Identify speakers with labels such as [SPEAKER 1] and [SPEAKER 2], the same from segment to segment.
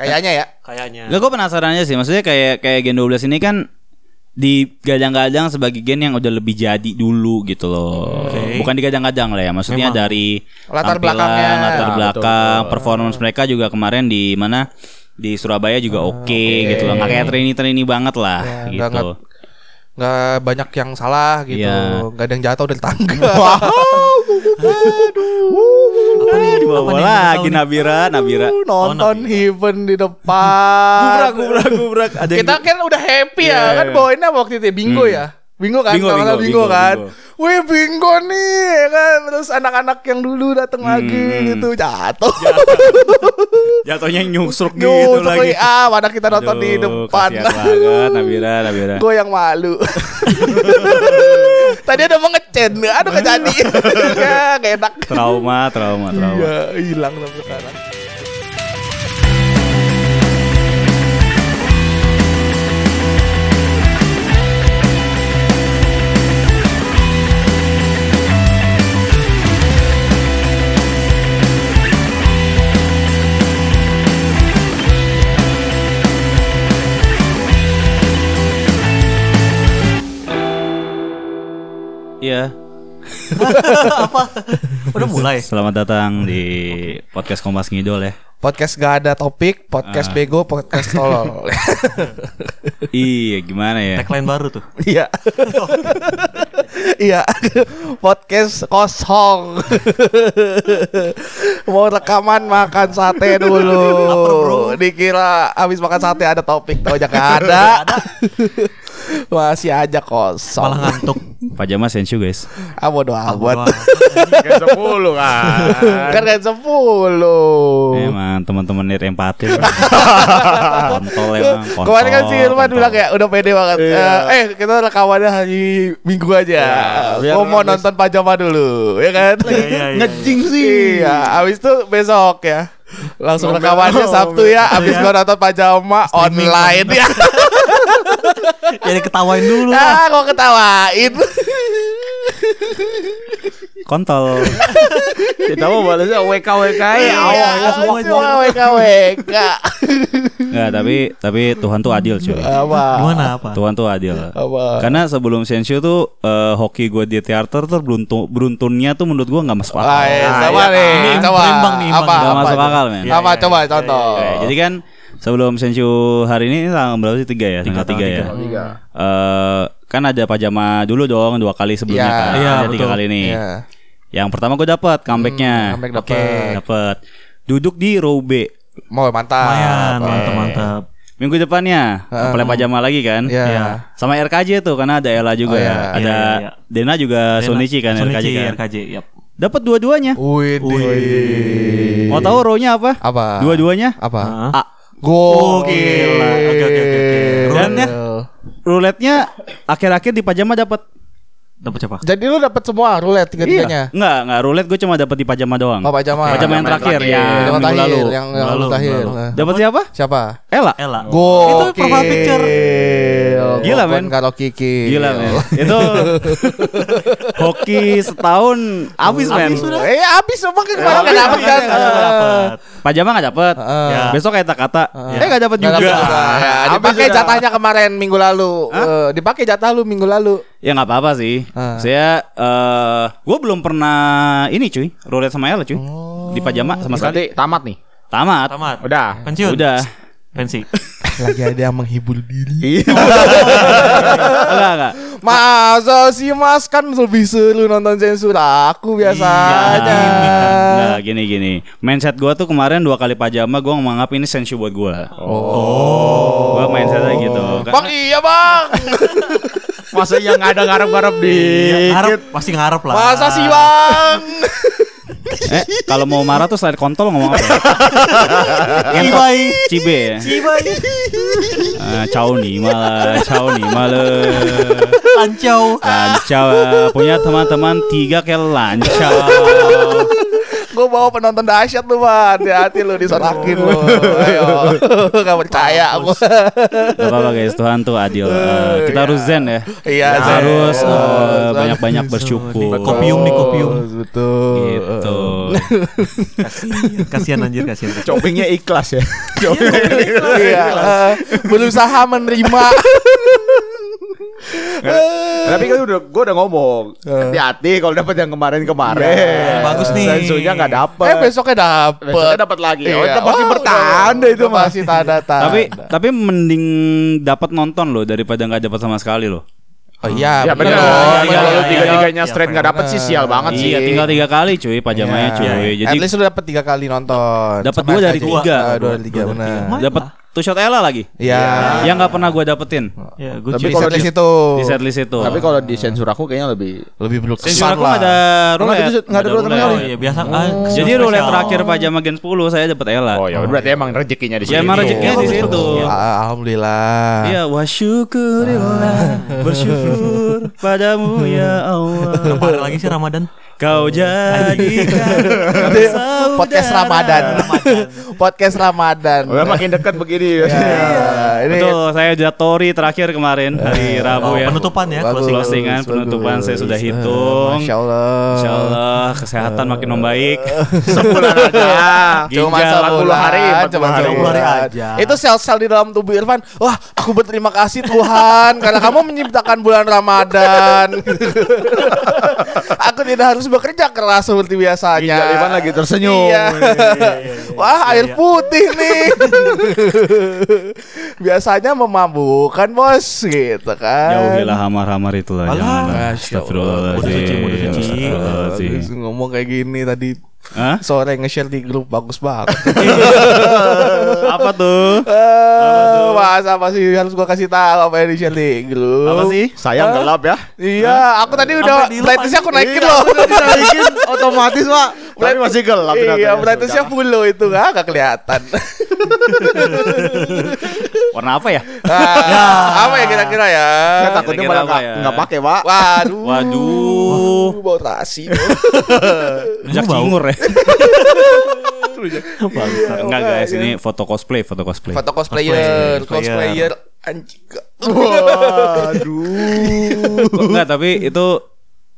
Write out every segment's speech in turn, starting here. [SPEAKER 1] Kayaknya ya.
[SPEAKER 2] kayaknya.
[SPEAKER 3] Lo gue penasarannya sih, maksudnya kayak kayak Gen 12 ini kan digadang-gadang sebagai gen yang udah lebih jadi dulu gitu loh.
[SPEAKER 2] Oke.
[SPEAKER 3] Bukan digadang-gadang lah ya, maksudnya
[SPEAKER 4] Memang.
[SPEAKER 3] dari
[SPEAKER 1] Latar
[SPEAKER 3] tampilan,
[SPEAKER 1] belakangnya.
[SPEAKER 3] latar
[SPEAKER 4] Nah,
[SPEAKER 3] belakang,
[SPEAKER 4] betul.
[SPEAKER 3] performance mereka juga kemarin di mana di Surabaya juga oke gitu loh. Nggak kayak trainee-trainee banget lah
[SPEAKER 1] Ah, Ya, nggak-
[SPEAKER 3] gitu.
[SPEAKER 1] nggak- Nggak banyak yang salah gitu.
[SPEAKER 3] Iya.
[SPEAKER 1] Nggak ada yang jatuh dari tangga.
[SPEAKER 2] Apa nih?
[SPEAKER 3] Di
[SPEAKER 2] Apa
[SPEAKER 3] bawah
[SPEAKER 2] nih?
[SPEAKER 3] lagi
[SPEAKER 2] Nggak tahu nih.
[SPEAKER 3] Nabira, Nabira.
[SPEAKER 1] Aduh, nonton
[SPEAKER 2] Oh,
[SPEAKER 1] event di depan.
[SPEAKER 3] Gubrak, gubrak, gubrak. Ada yang-
[SPEAKER 1] Kita kan udah happy
[SPEAKER 3] Iya,
[SPEAKER 1] ya kan
[SPEAKER 3] iya.
[SPEAKER 1] bawainnya waktu itu ya, bingo
[SPEAKER 3] Hmm.
[SPEAKER 1] ya. Bingo kan,
[SPEAKER 3] Bingo,
[SPEAKER 1] bingo, bingo,
[SPEAKER 3] bingo,
[SPEAKER 1] kan.
[SPEAKER 3] bingo.
[SPEAKER 1] Wih bingo nih ya kan, terus anak-anak yang dulu datang lagi
[SPEAKER 3] Hmm.
[SPEAKER 1] gitu jatuh.
[SPEAKER 3] jatuhnya nyusruk gitu
[SPEAKER 1] Duh,
[SPEAKER 3] lagi.
[SPEAKER 1] lagi ah, mana kita nonton di
[SPEAKER 3] Aduh,
[SPEAKER 1] depan.
[SPEAKER 3] kasihan banget Nabira, Nabira.
[SPEAKER 1] Gue yang malu. Tadi ada mau ngecen, aduh kejadi. ya, gak enak.
[SPEAKER 3] Trauma, trauma, trauma.
[SPEAKER 1] Iya, hilang sampai sekarang.
[SPEAKER 3] Iya.
[SPEAKER 2] Udah mulai.
[SPEAKER 3] Eh, Selamat datang di podcast Kompas Ngidol ya.
[SPEAKER 1] Podcast gak ada topik, podcast
[SPEAKER 3] Ah.
[SPEAKER 1] bego, podcast tolol.
[SPEAKER 3] Iya, gimana ya?
[SPEAKER 2] Tagline baru tuh.
[SPEAKER 1] Iya. Iya. Podcast kosong. Mau rekaman makan sate
[SPEAKER 2] Laper, bro.
[SPEAKER 1] dulu. Dikira habis makan sate ada topik, taunya gak ada. Masih aja
[SPEAKER 2] Malah
[SPEAKER 1] kosong.
[SPEAKER 2] ngantuk.
[SPEAKER 3] Pajama Senshu guys.
[SPEAKER 1] Ah bodo amat.
[SPEAKER 2] Wah.
[SPEAKER 4] Kayak sepuluh kan.
[SPEAKER 1] Kan kan 10.
[SPEAKER 3] Eh, Emang teman-teman nir empati. kontol ya, emang. Kontol,
[SPEAKER 1] Kemarin kan si Irfan
[SPEAKER 3] kontol.
[SPEAKER 1] bilang ya udah pede banget.
[SPEAKER 4] Iya.
[SPEAKER 1] Eh, eh kita rekamannya hari Minggu aja.
[SPEAKER 4] Iya, biar
[SPEAKER 1] Gua mau
[SPEAKER 4] habis-
[SPEAKER 1] nonton pajama dulu, ya kan?
[SPEAKER 2] Iya, iya, iya.
[SPEAKER 1] Ngejing sih. Iya, habis itu besok ya. Langsung
[SPEAKER 4] Ngomel-
[SPEAKER 1] rekamannya
[SPEAKER 4] ngomel.
[SPEAKER 1] Sabtu ya,
[SPEAKER 2] Sabtu
[SPEAKER 1] habis
[SPEAKER 2] ya.
[SPEAKER 1] gua nonton pajama online ya.
[SPEAKER 2] Jadi ketawain dulu
[SPEAKER 1] ah,
[SPEAKER 2] lah.
[SPEAKER 1] kok ketawain.
[SPEAKER 3] Kontol.
[SPEAKER 4] Kita mau balasnya WK WK
[SPEAKER 3] Eh,
[SPEAKER 4] ya.
[SPEAKER 1] Iya,
[SPEAKER 4] awal ya semua
[SPEAKER 1] cuma WKWK.
[SPEAKER 3] Enggak, tapi tapi Tuhan tuh adil, cuy.
[SPEAKER 1] Apa?
[SPEAKER 2] Gimana apa?
[SPEAKER 3] Tuhan tuh adil.
[SPEAKER 1] Apa?
[SPEAKER 3] Karena sebelum Senshu tuh eh, hoki gue di teater tuh beruntung, beruntunnya tuh menurut gue nggak masuk
[SPEAKER 1] Wah,
[SPEAKER 3] akal.
[SPEAKER 1] ya,
[SPEAKER 4] Ah,
[SPEAKER 1] sama
[SPEAKER 4] iya.
[SPEAKER 1] nih,
[SPEAKER 2] Ini
[SPEAKER 1] sama.
[SPEAKER 2] imbang nih, imbang.
[SPEAKER 1] Apa?
[SPEAKER 3] Nggak
[SPEAKER 1] apa
[SPEAKER 3] masuk
[SPEAKER 1] tuh?
[SPEAKER 3] akal, men.
[SPEAKER 1] Apa?
[SPEAKER 2] Iya, iya,
[SPEAKER 1] Coba
[SPEAKER 2] iya,
[SPEAKER 1] contoh.
[SPEAKER 3] Oke, jadi kan sebelum Senshu hari ini tanggal berapa sih? Tiga ya? Tanggal tiga ya? Eh, kan ada pajama dulu dong dua kali sebelumnya
[SPEAKER 1] Iya.
[SPEAKER 3] kan.
[SPEAKER 2] Iya,
[SPEAKER 3] ada tiga
[SPEAKER 2] betul.
[SPEAKER 3] kali nih.
[SPEAKER 1] Iya.
[SPEAKER 3] Yang pertama gue dapat comebacknya.
[SPEAKER 1] Hmm, comeback dapet.
[SPEAKER 3] Oke, dapet. Duduk di row B.
[SPEAKER 1] Mau mantap.
[SPEAKER 2] Lumayan,
[SPEAKER 1] Oke.
[SPEAKER 2] mantap mantap.
[SPEAKER 3] Minggu depannya
[SPEAKER 1] Ah.
[SPEAKER 3] Apply pajama lagi kan.
[SPEAKER 1] Iya.
[SPEAKER 2] Iya.
[SPEAKER 3] Sama RKJ tuh karena ada Ella juga, ya.
[SPEAKER 1] Oh, iya.
[SPEAKER 3] ada
[SPEAKER 2] Iya, iya, iya.
[SPEAKER 3] Dena juga Sonichi kan
[SPEAKER 2] Sunichi,
[SPEAKER 3] RKJ kan.
[SPEAKER 2] RKJ, yap.
[SPEAKER 3] Dapat dua-duanya.
[SPEAKER 1] Wih, di-
[SPEAKER 3] Mau tahu row-nya apa?
[SPEAKER 1] apa?
[SPEAKER 3] Dua-duanya
[SPEAKER 1] apa?
[SPEAKER 2] Hah?
[SPEAKER 3] A.
[SPEAKER 1] Oh, Gokil.
[SPEAKER 2] gila. Oke, oke, oke, oke.
[SPEAKER 3] Dan ya? Roulette-nya akhir-akhir di pajama dapat.
[SPEAKER 2] Dapat siapa?
[SPEAKER 1] Jadi lu dapat semua roulette tiga-tiganya.
[SPEAKER 3] Enggak, enggak roulette gue cuma dapat di pajama doang.
[SPEAKER 1] Oh, pajama.
[SPEAKER 3] Pajama yang terakhir ya,
[SPEAKER 1] Yang
[SPEAKER 3] minggu
[SPEAKER 1] terakhir,
[SPEAKER 3] lalu.
[SPEAKER 1] yang yang
[SPEAKER 2] Lalu,
[SPEAKER 1] terakhir.
[SPEAKER 2] lalu.
[SPEAKER 1] Nah.
[SPEAKER 3] Dapat siapa?
[SPEAKER 1] Siapa?
[SPEAKER 3] Ella.
[SPEAKER 2] Ella.
[SPEAKER 1] Gokil.
[SPEAKER 2] Itu profile picture.
[SPEAKER 3] Gila,
[SPEAKER 1] Gokil
[SPEAKER 3] men.
[SPEAKER 1] Kalau Kiki.
[SPEAKER 3] Gila men Itu Hoki setahun Abis men
[SPEAKER 1] Eh, habis semua kan kemarin
[SPEAKER 3] habis,
[SPEAKER 1] nggak dapet
[SPEAKER 3] habis,
[SPEAKER 1] kan.
[SPEAKER 3] habis, habis, Pajama gak dapet
[SPEAKER 1] Heeh.
[SPEAKER 2] Ya.
[SPEAKER 3] Besok kayak kata Eh gak dapet
[SPEAKER 1] Nggak
[SPEAKER 3] juga
[SPEAKER 1] dapet juga. Ya,
[SPEAKER 3] Habis
[SPEAKER 1] Dipakai
[SPEAKER 3] udah.
[SPEAKER 1] jatahnya kemarin minggu lalu. Eh, Dipakai jatah lu minggu lalu.
[SPEAKER 3] Ya gak apa-apa sih
[SPEAKER 1] Ah.
[SPEAKER 3] Saya eh Gue belum pernah Ini cuy Roulette sama Ella cuy Di pajama sama sekali
[SPEAKER 4] Berarti tamat nih.
[SPEAKER 3] Tamat
[SPEAKER 2] Tamat.
[SPEAKER 4] Udah.
[SPEAKER 2] Pensiun.
[SPEAKER 3] Udah
[SPEAKER 2] Pensi.
[SPEAKER 1] Lagi ada yang menghibur diri.
[SPEAKER 3] Iya. Enggak enggak
[SPEAKER 1] Masa sih mas kan lebih seru nonton sensor aku
[SPEAKER 3] Iya,
[SPEAKER 1] biasanya.
[SPEAKER 3] Enggak gini gini Mindset gue tuh kemarin Dua kali pajama Gue menganggap ini sensu buat gue Oh Gue mindsetnya gitu
[SPEAKER 1] Bang iya bang.
[SPEAKER 4] Masa yang ada ngarep-ngarep di.
[SPEAKER 2] Iya, Ngarep, pasti ngarep lah.
[SPEAKER 1] Masa sih bang.
[SPEAKER 3] Eh, kalau mau marah tuh selain kontol ngomong apa? ya?
[SPEAKER 2] Cibai.
[SPEAKER 3] Cibe ya.
[SPEAKER 2] Cibai.
[SPEAKER 3] Ah, cau nih malah, cau nih malah.
[SPEAKER 2] Ancau.
[SPEAKER 3] Lancau punya teman-teman tiga kayak lancau.
[SPEAKER 5] lu bawa penonton dahsyat lu, Man. Hati-hati lu disorakin lu. Ayo. Enggak percaya gua.
[SPEAKER 3] Gak apa-apa guys, Tuhan tuh adil. Eh, kita
[SPEAKER 5] Iya.
[SPEAKER 3] harus zen ya.
[SPEAKER 5] Iya,
[SPEAKER 3] Kita
[SPEAKER 5] Zen.
[SPEAKER 3] harus
[SPEAKER 1] Ya,
[SPEAKER 3] eh,
[SPEAKER 1] Iya.
[SPEAKER 5] Zen.
[SPEAKER 3] banyak-banyak bersyukur.
[SPEAKER 2] Betul. Kopium nih, kopium.
[SPEAKER 5] Betul.
[SPEAKER 3] Gitu.
[SPEAKER 2] Kasian, kasian anjir, kasian.
[SPEAKER 4] Copingnya ikhlas ya.
[SPEAKER 5] Iya, eh, berusaha menerima.
[SPEAKER 4] Tapi kan udah gue udah ngomong hati-hati kalau dapat yang kemarin-kemarin.
[SPEAKER 2] Iya, bagus nih.
[SPEAKER 4] Sensunya nggak dapat.
[SPEAKER 5] Eh besoknya dapet.
[SPEAKER 4] Besoknya dapat lagi. Oh,
[SPEAKER 5] Iya.
[SPEAKER 4] itu pasti
[SPEAKER 5] Oh,
[SPEAKER 4] bertanda itu
[SPEAKER 5] udah
[SPEAKER 4] mas.
[SPEAKER 5] Pasti tanda tanda.
[SPEAKER 3] Tapi tapi mending dapat nonton loh daripada nggak dapat sama sekali loh.
[SPEAKER 5] oh, iya,
[SPEAKER 4] Ya
[SPEAKER 2] iya,
[SPEAKER 4] benar.
[SPEAKER 5] bener. Bener.
[SPEAKER 4] Kalau
[SPEAKER 2] iya,
[SPEAKER 4] tiga-tiganya
[SPEAKER 2] iya,
[SPEAKER 4] straight nggak dapat sih sial banget sih.
[SPEAKER 3] Iya, tinggal tiga kali cuy pajamanya
[SPEAKER 5] Iya.
[SPEAKER 3] cuy.
[SPEAKER 5] At
[SPEAKER 3] Jadi
[SPEAKER 5] least lu dapat tiga kali nonton.
[SPEAKER 3] Dapat
[SPEAKER 5] Sama
[SPEAKER 3] dua
[SPEAKER 5] aja
[SPEAKER 3] dari
[SPEAKER 5] jadi-
[SPEAKER 3] tiga.
[SPEAKER 5] Ah, Dua dari tiga
[SPEAKER 2] Dua dari
[SPEAKER 5] benar.
[SPEAKER 2] tiga. Mah.
[SPEAKER 3] dapat two shot Ella lagi.
[SPEAKER 5] Iya.
[SPEAKER 3] Yang nggak pernah gua dapetin
[SPEAKER 2] Ya, gue
[SPEAKER 4] Tapi
[SPEAKER 5] Tapi
[SPEAKER 4] kalau
[SPEAKER 5] kalau di situ
[SPEAKER 1] Oh.
[SPEAKER 3] di setlist itu.
[SPEAKER 4] Tapi kalau di sensor aku kayaknya lebih
[SPEAKER 5] lebih berkesan
[SPEAKER 3] Sensor aku nggak ada roulette.
[SPEAKER 4] Nggak ada- nggak ada
[SPEAKER 3] Nggak
[SPEAKER 4] roulette sama
[SPEAKER 2] Oh
[SPEAKER 3] roulette.
[SPEAKER 2] iya biasa. Ah,
[SPEAKER 3] Jadi
[SPEAKER 2] spesial.
[SPEAKER 3] roulette terakhir pajama Gen 10 saya dapat Ella.
[SPEAKER 4] Oh ya, berarti emang rezekinya di Iya.
[SPEAKER 3] Ya,
[SPEAKER 4] sini.
[SPEAKER 3] emang rezekinya di situ.
[SPEAKER 5] Ah, Alhamdulillah.
[SPEAKER 3] Iya, wa syukurillah bersyukur padamu ya Allah.
[SPEAKER 2] Kemarin lagi sih Ramadan.
[SPEAKER 3] Kau jadikan
[SPEAKER 5] Itu podcast Ramadan. podcast Ramadan.
[SPEAKER 4] Udah makin dekat begini.
[SPEAKER 5] Iya, ini
[SPEAKER 3] Oh, Betul, saya udah tori terakhir kemarin hari Rabu
[SPEAKER 2] Oh,
[SPEAKER 3] ya.
[SPEAKER 2] penutupan ya,
[SPEAKER 5] Bagus,
[SPEAKER 2] closing.
[SPEAKER 3] closingan, penutupan saya sudah
[SPEAKER 5] Eh,
[SPEAKER 3] hitung.
[SPEAKER 5] Masya Allah.
[SPEAKER 3] Insyaallah kesehatan makin membaik.
[SPEAKER 4] Sebulan aja.
[SPEAKER 5] Ah, Cuma
[SPEAKER 3] Ginjal
[SPEAKER 4] 40 hari, 40
[SPEAKER 5] cuma
[SPEAKER 4] hari.
[SPEAKER 5] 40 hari aja. Itu sel-sel di dalam tubuh Irfan. Wah, aku berterima kasih Tuhan karena kamu menciptakan bulan Ramadan. aku tidak harus bekerja keras seperti
[SPEAKER 1] Iya.
[SPEAKER 5] biasanya.
[SPEAKER 4] Ginjal Irfan lagi Oh, tersenyum.
[SPEAKER 5] Iya. Wah, air putih nih. biasanya memabukkan, Bos, gitu kan.
[SPEAKER 3] Jauhilah hamar-hamar itulah.
[SPEAKER 2] Alah.
[SPEAKER 3] Jangan. lah.
[SPEAKER 5] Masya Allah.
[SPEAKER 2] Udah suci,
[SPEAKER 3] Astagfirullahaladzim.
[SPEAKER 2] udah suci.
[SPEAKER 3] Astagfirullahaladzim.
[SPEAKER 5] Aduh, ngomong kayak gini tadi
[SPEAKER 3] Hah?
[SPEAKER 5] sore nge-share di grup bagus banget.
[SPEAKER 3] Apa tuh?
[SPEAKER 5] Eh, masa apa sih harus gua kasih tahu apa yang di-share di grup?
[SPEAKER 3] Apa sih?
[SPEAKER 4] Sayang gelap ya.
[SPEAKER 5] Iya, aku tadi udah
[SPEAKER 2] Sampai di
[SPEAKER 5] brightness-nya aku
[SPEAKER 4] Iya,
[SPEAKER 5] naikin loh.
[SPEAKER 4] Naikin otomatis, Pak. Tapi masih gelap
[SPEAKER 5] Iya,
[SPEAKER 4] ternyata.
[SPEAKER 5] brightness-nya full loh itu, nggak nggak kelihatan.
[SPEAKER 3] Warna apa ya?
[SPEAKER 5] Ah, apa ya kira-kira ya?
[SPEAKER 4] Nggak, takutnya
[SPEAKER 3] Kira-kira
[SPEAKER 4] malah
[SPEAKER 3] apa
[SPEAKER 4] nggak
[SPEAKER 3] ya?
[SPEAKER 4] nggak pakai, Pak.
[SPEAKER 5] Waduh.
[SPEAKER 3] Waduh.
[SPEAKER 5] Bau terasi.
[SPEAKER 3] Rujak
[SPEAKER 2] bau.
[SPEAKER 3] cingur ya. Enggak guys, ini foto cosplay, foto cosplay.
[SPEAKER 5] Foto cosplayer,
[SPEAKER 2] Cosplayer.
[SPEAKER 5] cosplayer anjing.
[SPEAKER 4] Waduh.
[SPEAKER 3] Enggak, tapi itu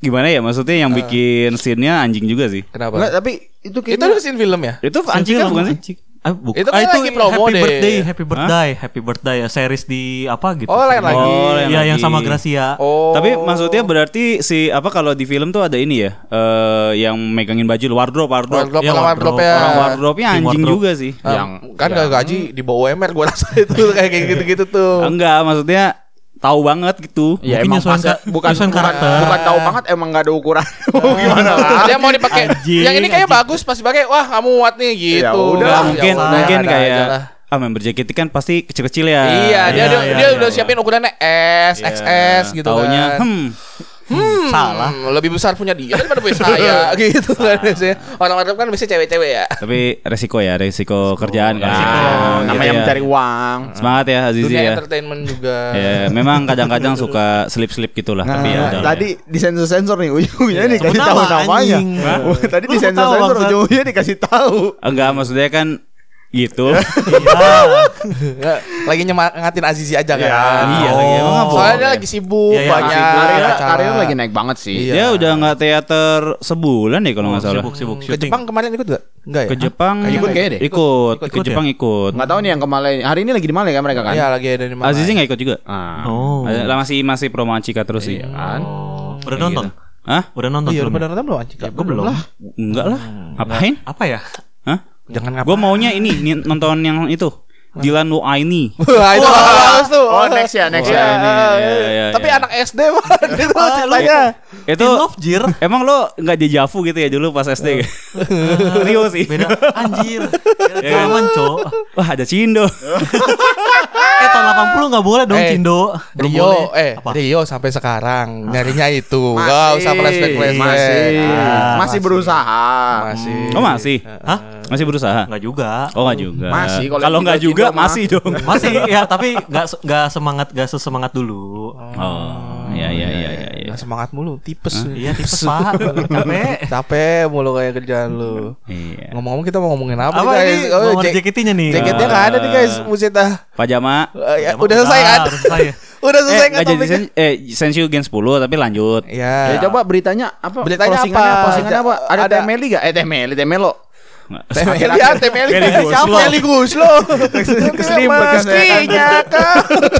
[SPEAKER 3] gimana ya? Maksudnya yang bikin scene-nya anjing juga sih.
[SPEAKER 4] Nggak,
[SPEAKER 5] Kenapa?
[SPEAKER 4] tapi itu
[SPEAKER 5] Itu
[SPEAKER 4] kayaknya
[SPEAKER 5] udah scene film ya?
[SPEAKER 3] Itu anjing kan bukan sih?
[SPEAKER 2] Ah, bukan.
[SPEAKER 5] Itu kan
[SPEAKER 2] Ah,
[SPEAKER 5] lagi promo
[SPEAKER 2] Happy
[SPEAKER 5] deh.
[SPEAKER 2] birthday, happy birthday, happy birthday. ya, Series di apa gitu?
[SPEAKER 5] Oh, lain lagi.
[SPEAKER 3] Oh, lain
[SPEAKER 2] Iya, yang
[SPEAKER 3] lagi.
[SPEAKER 2] sama Gracia.
[SPEAKER 5] Oh.
[SPEAKER 3] Tapi maksudnya berarti si apa kalau di film tuh ada ini ya eh yang megangin baju wardrobe wardrobe.
[SPEAKER 5] wardrobe,
[SPEAKER 2] Iya,
[SPEAKER 5] orang
[SPEAKER 2] wardrobe.
[SPEAKER 5] wardrobe ya.
[SPEAKER 3] Orang wardrobe-nya
[SPEAKER 2] Tim
[SPEAKER 3] anjing
[SPEAKER 2] wardrobe.
[SPEAKER 3] juga sih.
[SPEAKER 5] Ah,
[SPEAKER 4] Yang-
[SPEAKER 5] kan gak gaji di bawah UMR gua rasa itu kayak kayak gitu-gitu tuh.
[SPEAKER 3] Enggak, maksudnya tahu banget gitu.
[SPEAKER 4] Ya
[SPEAKER 2] Mungkin
[SPEAKER 4] emang
[SPEAKER 2] nyesuaiin
[SPEAKER 4] pasnya-
[SPEAKER 2] ka-
[SPEAKER 4] bukan
[SPEAKER 2] nyesuaiin
[SPEAKER 4] bukan-
[SPEAKER 2] karakter.
[SPEAKER 4] Bukan tahu banget emang nggak ada ukuran. Mau gimana lah?
[SPEAKER 5] Dia mau dipakai.
[SPEAKER 2] Anjing,
[SPEAKER 5] yang ini kayaknya
[SPEAKER 2] anjing.
[SPEAKER 5] bagus pas dipakai. Wah, kamu muat nih gitu.
[SPEAKER 4] Ya udah,
[SPEAKER 5] Nah,
[SPEAKER 3] Enggak, mungkin
[SPEAKER 5] ya udah,
[SPEAKER 3] mungkin
[SPEAKER 5] ada
[SPEAKER 3] kayak
[SPEAKER 5] aja lah.
[SPEAKER 3] ah member JKT kan pasti kecil-kecil ya.
[SPEAKER 5] Iya, dia
[SPEAKER 2] Iya,
[SPEAKER 5] dia,
[SPEAKER 2] iya,
[SPEAKER 5] dia
[SPEAKER 2] iya.
[SPEAKER 5] udah siapin ukurannya S,
[SPEAKER 3] Iya.
[SPEAKER 5] XS gitu
[SPEAKER 3] Taunya,
[SPEAKER 5] kan.
[SPEAKER 3] hmm,
[SPEAKER 5] Hmm,
[SPEAKER 2] salah.
[SPEAKER 5] Lebih besar punya dia daripada punya saya gitu kan biasanya. Orang-orang kan biasanya cewek-cewek ya.
[SPEAKER 3] tapi resiko ya, resiko, kerjaan kan.
[SPEAKER 4] Resiko.
[SPEAKER 3] Ah, gitu
[SPEAKER 4] namanya
[SPEAKER 3] ya.
[SPEAKER 4] mencari uang.
[SPEAKER 3] Semangat ya Azizi
[SPEAKER 5] Dunia
[SPEAKER 3] ya.
[SPEAKER 5] entertainment juga.
[SPEAKER 3] Ya, memang kadang-kadang suka slip-slip gitulah, tapi ya
[SPEAKER 4] Nah,
[SPEAKER 3] udah.
[SPEAKER 4] tadi di sensor sensor nih ujungnya dikasih
[SPEAKER 2] Sebut
[SPEAKER 4] tahu
[SPEAKER 2] nama,
[SPEAKER 4] namanya.
[SPEAKER 2] anjing.
[SPEAKER 4] Hah? Tadi
[SPEAKER 2] Lu
[SPEAKER 4] di sensor
[SPEAKER 2] tahu,
[SPEAKER 4] sensor
[SPEAKER 2] bangsat.
[SPEAKER 4] ujungnya dikasih tahu.
[SPEAKER 3] Enggak, maksudnya kan gitu.
[SPEAKER 2] Iya.
[SPEAKER 5] Ya, Lagi nyemangatin Azizi aja kan.
[SPEAKER 4] Iya.
[SPEAKER 3] Iya, lagi emang apa?
[SPEAKER 5] Soalnya dia lagi sibuk
[SPEAKER 2] Iya, iya,
[SPEAKER 5] banyak.
[SPEAKER 2] sibuk.
[SPEAKER 4] Karirnya
[SPEAKER 5] acara.
[SPEAKER 4] karirnya lagi naik banget sih.
[SPEAKER 5] Iya.
[SPEAKER 3] Dia udah nggak teater sebulan deh kalau nggak salah.
[SPEAKER 2] Oh, Sibuk, sibuk,
[SPEAKER 5] Ke
[SPEAKER 2] syuting.
[SPEAKER 5] Jepang kemarin ikut gak? Enggak ya?
[SPEAKER 3] Ke Jepang
[SPEAKER 4] Ikut kayaknya deh.
[SPEAKER 3] Ikut,
[SPEAKER 5] Ikut,
[SPEAKER 3] ke
[SPEAKER 5] ikut
[SPEAKER 3] Jepang ikut.
[SPEAKER 4] Nggak tahu nih yang kemarin. Hari ini lagi di Malaysia kan mereka kan?
[SPEAKER 5] Iya lagi ada di mana?
[SPEAKER 3] Azizi nggak ikut juga.
[SPEAKER 4] Ah.
[SPEAKER 2] Oh.
[SPEAKER 3] Ada- Lah masih masih promo Cika terus sih.
[SPEAKER 4] Kan?
[SPEAKER 2] Udah nonton?
[SPEAKER 3] Hah?
[SPEAKER 2] Udah nonton
[SPEAKER 5] Iya, udah
[SPEAKER 2] filmnya?
[SPEAKER 5] pada nonton belum anjing?
[SPEAKER 2] Gue belum.
[SPEAKER 3] Enggak lah. Apain?
[SPEAKER 2] Apa ya?
[SPEAKER 3] Hah?
[SPEAKER 5] Jangan
[SPEAKER 3] Gue maunya ini ni- nonton yang itu. Dylan Waini.
[SPEAKER 5] Wah, itu bagus tuh.
[SPEAKER 4] Oh, next ya, next ya.
[SPEAKER 5] Iya,
[SPEAKER 3] Iya, iya,
[SPEAKER 5] Tapi
[SPEAKER 3] iya.
[SPEAKER 5] anak SD banget itu
[SPEAKER 2] Ah,
[SPEAKER 5] ceritanya.
[SPEAKER 3] Itu
[SPEAKER 2] In Love Jir.
[SPEAKER 3] emang lo nggak dejavu gitu ya dulu pas SD? Rio sih.
[SPEAKER 2] Beda anjir.
[SPEAKER 3] Ya.
[SPEAKER 2] Zaman, Cok.
[SPEAKER 3] Wah ada Cindo.
[SPEAKER 2] Eh tahun 80 enggak boleh dong
[SPEAKER 5] Eh,
[SPEAKER 2] Cindo. Belum
[SPEAKER 5] Rio,
[SPEAKER 2] boleh.
[SPEAKER 5] eh
[SPEAKER 2] Apa?
[SPEAKER 5] Rio sampai sekarang nyarinya itu. Gak usah flashback flashback.
[SPEAKER 4] Masih.
[SPEAKER 5] Ah,
[SPEAKER 4] masih berusaha.
[SPEAKER 5] Masih.
[SPEAKER 3] Oh masih?
[SPEAKER 2] Hah?
[SPEAKER 3] Masih berusaha?
[SPEAKER 2] Enggak juga.
[SPEAKER 3] Oh nggak juga.
[SPEAKER 4] Masih, kalau
[SPEAKER 3] Kalau
[SPEAKER 4] yang
[SPEAKER 3] nggak
[SPEAKER 4] Cindo
[SPEAKER 3] juga
[SPEAKER 4] mah.
[SPEAKER 3] masih dong.
[SPEAKER 2] Masih ya, tapi enggak enggak semangat enggak sesemangat dulu.
[SPEAKER 3] Oh, ya ya ya ya. ya.
[SPEAKER 5] Nggak Iya, semangat mulu, tipes.
[SPEAKER 2] Iya tipes pak Capek
[SPEAKER 5] Capek mulu kayak kerjaan lu.
[SPEAKER 3] Iya.
[SPEAKER 5] Ngomong-ngomong kita mau ngomongin apa,
[SPEAKER 2] Apa
[SPEAKER 5] nih, guys?
[SPEAKER 2] ini Mau ada
[SPEAKER 5] jek-
[SPEAKER 2] jaketnya nih
[SPEAKER 5] jaketnya nggak ada nih guys, buset dah.
[SPEAKER 3] Pajama
[SPEAKER 5] Eh, ya,
[SPEAKER 2] Pajama
[SPEAKER 5] udah selesai kan?
[SPEAKER 2] udah selesai ya.
[SPEAKER 5] udah selesai
[SPEAKER 3] eh
[SPEAKER 5] kan
[SPEAKER 3] nggak jadi
[SPEAKER 5] topiknya?
[SPEAKER 3] sen eh Sensio Gen 10 tapi lanjut.
[SPEAKER 5] Ya.
[SPEAKER 4] Ya, coba beritanya apa?
[SPEAKER 5] Beritanya
[SPEAKER 4] Closingannya
[SPEAKER 5] apa?
[SPEAKER 4] Closingannya apa? Ada,
[SPEAKER 5] Ada-
[SPEAKER 4] TMLI gak? Eh TMLI, TMLO.
[SPEAKER 5] Temeli ya, temeli.
[SPEAKER 2] Temeli Guslo.
[SPEAKER 5] Temeli Guslo.
[SPEAKER 4] Keselimpet kan saya
[SPEAKER 5] Mestinya kau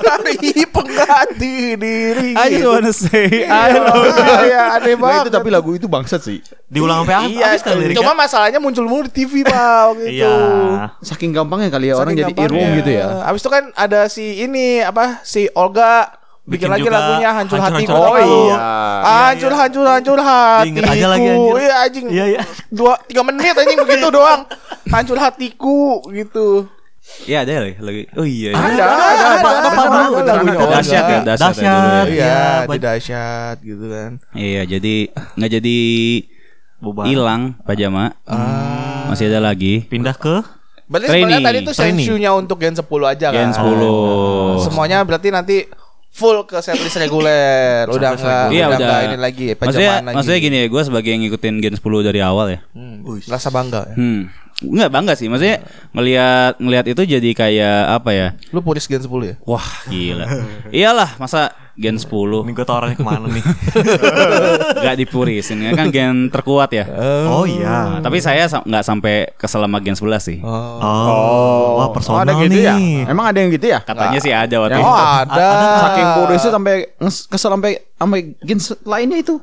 [SPEAKER 5] cari pengganti diri.
[SPEAKER 2] Iya.
[SPEAKER 3] I just wanna say I love
[SPEAKER 5] Ah, Iya,
[SPEAKER 4] Nah,
[SPEAKER 5] aneh
[SPEAKER 4] itu
[SPEAKER 5] banget.
[SPEAKER 4] tapi lagu itu bangsat sih.
[SPEAKER 2] Diulang sampai
[SPEAKER 5] Iya,
[SPEAKER 2] habis kan liriknya
[SPEAKER 5] cuma masalahnya muncul mulu di TV pak waktu itu.
[SPEAKER 2] Iya
[SPEAKER 4] Saking gampangnya kali ya orang
[SPEAKER 5] Saking
[SPEAKER 4] jadi
[SPEAKER 5] gampangnya.
[SPEAKER 4] irung gitu ya.
[SPEAKER 5] Abis itu kan ada si ini apa si Olga bikin,
[SPEAKER 2] Bikin
[SPEAKER 5] lagi
[SPEAKER 2] juga
[SPEAKER 5] lagunya hancur, hatiku.
[SPEAKER 2] Hancur Hatiku.
[SPEAKER 5] Oh,
[SPEAKER 4] iya.
[SPEAKER 5] Hancur hancur hancur hatiku.
[SPEAKER 2] Diinget aja lagi, anjir.
[SPEAKER 5] Iya anjing.
[SPEAKER 2] Iya, iya.
[SPEAKER 5] Dua tiga menit anjing begitu doang. Hancur hatiku gitu.
[SPEAKER 3] Iya ada lagi lagi. Oh iya. iya.
[SPEAKER 5] Ada,
[SPEAKER 2] ada,
[SPEAKER 5] ada,
[SPEAKER 2] ada,
[SPEAKER 5] ada,
[SPEAKER 2] ada,
[SPEAKER 5] ada
[SPEAKER 2] ada,
[SPEAKER 5] lagunya
[SPEAKER 2] ada.
[SPEAKER 5] Olga.
[SPEAKER 3] Dahsyat ya, dahsyat ya dulu
[SPEAKER 2] Dahsyat.
[SPEAKER 3] ya.
[SPEAKER 5] Iya,
[SPEAKER 2] Iya,
[SPEAKER 5] di dahsyat gitu kan.
[SPEAKER 3] Iya, jadi nggak jadi
[SPEAKER 2] Bubar.
[SPEAKER 3] hilang pajama. Masih ada lagi.
[SPEAKER 2] Pindah ke
[SPEAKER 5] Berarti
[SPEAKER 3] Trainee,
[SPEAKER 5] sebenarnya tadi tuh
[SPEAKER 2] trainee.
[SPEAKER 5] sensunya untuk Gen 10 aja kan. Ah.
[SPEAKER 3] Gen 10.
[SPEAKER 5] Semuanya berarti nanti full ke setlist reguler. Udah
[SPEAKER 2] Setlist
[SPEAKER 5] enggak
[SPEAKER 3] Iya udah.
[SPEAKER 5] udah enggak ini lagi pajaman
[SPEAKER 3] maksudnya,
[SPEAKER 5] lagi.
[SPEAKER 3] maksudnya gini ya, gue sebagai yang ngikutin Gen 10 dari awal ya.
[SPEAKER 5] Hmm, rasa bangga ya.
[SPEAKER 3] Hmm. Enggak bangga sih, maksudnya ngelihat ngelihat itu jadi kayak apa ya?
[SPEAKER 5] Lu puris Gen 10 ya?
[SPEAKER 3] Wah, gila. Iyalah, masa Gen 10
[SPEAKER 2] Ini gue tawarannya kemana nih
[SPEAKER 3] nggak dipurisin ya kan gen terkuat ya.
[SPEAKER 2] Oh iya
[SPEAKER 3] Nah, tapi saya sa- nggak sampai ke selama gen 11 sih.
[SPEAKER 2] Oh, wah personal
[SPEAKER 4] ada gitu
[SPEAKER 2] nih.
[SPEAKER 4] ya? Emang ada yang gitu ya?
[SPEAKER 3] Katanya sih ada waktu
[SPEAKER 5] Oh,
[SPEAKER 3] itu.
[SPEAKER 5] ada.
[SPEAKER 4] Saking bodohnya sampai nges- kesel sampai sampai gens lainnya itu.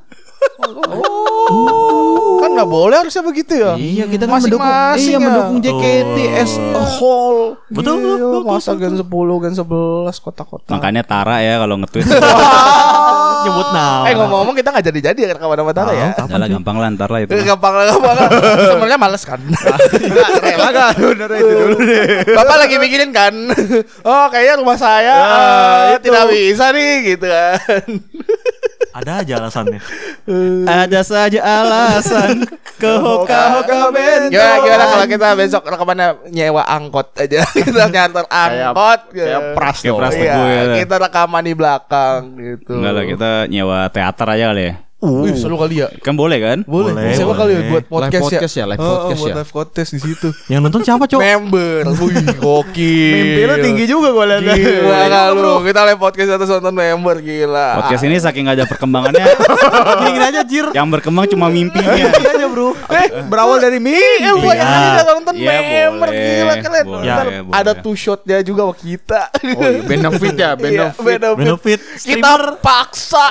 [SPEAKER 5] Kan nggak boleh harusnya begitu ya.
[SPEAKER 4] Iya, kita kan
[SPEAKER 5] Masing-masing
[SPEAKER 4] mendukung. Iya,
[SPEAKER 5] ya.
[SPEAKER 4] mendukung JKT as a whole.
[SPEAKER 2] Betul,
[SPEAKER 5] Gila,
[SPEAKER 2] betul, betul,
[SPEAKER 5] Iya. Masa Gen 10, Gen 11 kotak-kotak.
[SPEAKER 3] Makanya Tara ya kalau nge-tweet.
[SPEAKER 2] Nyebut nama.
[SPEAKER 5] Eh ngomong-ngomong kita nggak jadi-jadi ya kawan-kawan Tara ya.
[SPEAKER 3] Udah lah gampang lah ntar lah itu.
[SPEAKER 5] Eh, Gampang lah, gampang lah. Sebenarnya males kan.
[SPEAKER 4] Enggak, rela
[SPEAKER 3] kan?
[SPEAKER 4] gak? Bener itu dulu deh.
[SPEAKER 5] Bapak lagi mikirin kan. Oh, kayaknya rumah saya
[SPEAKER 3] Ya,
[SPEAKER 5] eh, tidak bisa nih gitu kan.
[SPEAKER 2] Ada aja alasannya.
[SPEAKER 3] Ada saja alasan ke hoka-hoka bento.
[SPEAKER 5] Gimana, gimana kalau kita besok rekamannya nyewa angkot aja. kita nyantar
[SPEAKER 4] Kayak
[SPEAKER 5] angkot.
[SPEAKER 4] kayak
[SPEAKER 5] gitu.
[SPEAKER 4] Oh, ya, pras
[SPEAKER 3] Kayak
[SPEAKER 4] dong.
[SPEAKER 3] pras.
[SPEAKER 5] Iya,
[SPEAKER 3] teguh ya.
[SPEAKER 5] kita rekaman di belakang gitu.
[SPEAKER 3] Enggak lah kita nyewa teater aja kali ya.
[SPEAKER 5] Wih, seru kali ya.
[SPEAKER 3] Kan boleh kan?
[SPEAKER 5] Boleh.
[SPEAKER 2] Boleh,
[SPEAKER 5] Siapa kali ya
[SPEAKER 2] boleh.
[SPEAKER 5] buat
[SPEAKER 4] Live
[SPEAKER 5] podcast,
[SPEAKER 4] podcast ya, live
[SPEAKER 5] Oh, oh,
[SPEAKER 4] podcast
[SPEAKER 5] buat
[SPEAKER 4] ya.
[SPEAKER 5] live podcast di situ.
[SPEAKER 2] Yang nonton siapa, Cok?
[SPEAKER 5] Member. Wih, gokil.
[SPEAKER 4] Mimpi lu tinggi juga gue lihat.
[SPEAKER 5] Iya.
[SPEAKER 4] Iya,
[SPEAKER 5] Gila nggak lu. Kita live podcast atas nonton member gila.
[SPEAKER 3] Podcast ini saking gak ada perkembangannya.
[SPEAKER 2] Gini aja, Jir.
[SPEAKER 3] yang berkembang cuma
[SPEAKER 5] Iya,
[SPEAKER 3] mimpinya.
[SPEAKER 2] aja, Bro.
[SPEAKER 4] Berawal dari mie.
[SPEAKER 5] Eh,
[SPEAKER 2] Iya.
[SPEAKER 5] bukan yang tadi udah nonton
[SPEAKER 3] Iya,
[SPEAKER 5] member
[SPEAKER 3] boleh.
[SPEAKER 5] gila kalian.
[SPEAKER 3] Boleh,
[SPEAKER 5] Ntar
[SPEAKER 3] ya, boleh.
[SPEAKER 5] ada two shot dia juga sama kita.
[SPEAKER 4] Oh, iya, benefit ya,
[SPEAKER 5] Iya,
[SPEAKER 4] benefit.
[SPEAKER 2] Benefit
[SPEAKER 5] Kita
[SPEAKER 2] streamer.
[SPEAKER 5] paksa.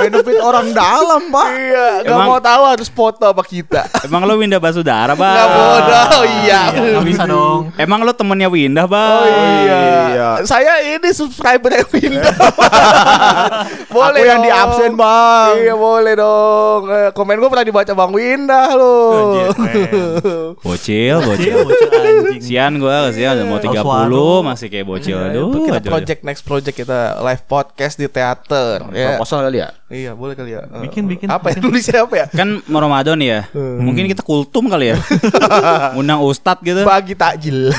[SPEAKER 4] benefit orang dalam, Pak.
[SPEAKER 5] iya, nggak
[SPEAKER 3] Emang-
[SPEAKER 5] mau tahu harus foto sama kita.
[SPEAKER 3] Emang lo Winda Basudara,
[SPEAKER 5] Nggak
[SPEAKER 3] Bang?
[SPEAKER 5] bodoh, iya.
[SPEAKER 2] Gak bisa dong.
[SPEAKER 3] Emang lo temennya Winda,
[SPEAKER 5] Oh
[SPEAKER 3] Bang?
[SPEAKER 5] iya.
[SPEAKER 4] iya.
[SPEAKER 5] Saya ini subscriber yang pindah. boleh
[SPEAKER 4] Aku yang
[SPEAKER 5] dong.
[SPEAKER 4] di absen, Bang.
[SPEAKER 5] Iya boleh dong. Eh, Komen gue pernah dibaca Bang Windah loh.
[SPEAKER 2] Anjir, keren.
[SPEAKER 3] Bocil,
[SPEAKER 2] Cil,
[SPEAKER 3] bocil.
[SPEAKER 2] bocil anjing.
[SPEAKER 3] Sian gue kasihan udah mau 30
[SPEAKER 2] Oswaldo.
[SPEAKER 3] masih kayak bocil aduh. aduh,
[SPEAKER 5] kita Iya. project next project kita live podcast di teater. Iya.
[SPEAKER 4] Proposal kali ya.
[SPEAKER 5] Iya boleh kali ya. Eh,
[SPEAKER 2] Bikin, bikin,
[SPEAKER 5] Apa ya
[SPEAKER 2] bikin.
[SPEAKER 5] tulisnya apa ya?
[SPEAKER 3] aduh. Kan mau Ramadan ya.
[SPEAKER 5] Hmm.
[SPEAKER 3] Mungkin kita kultum kali ya. Undang ustad gitu.
[SPEAKER 5] Bagi takjil.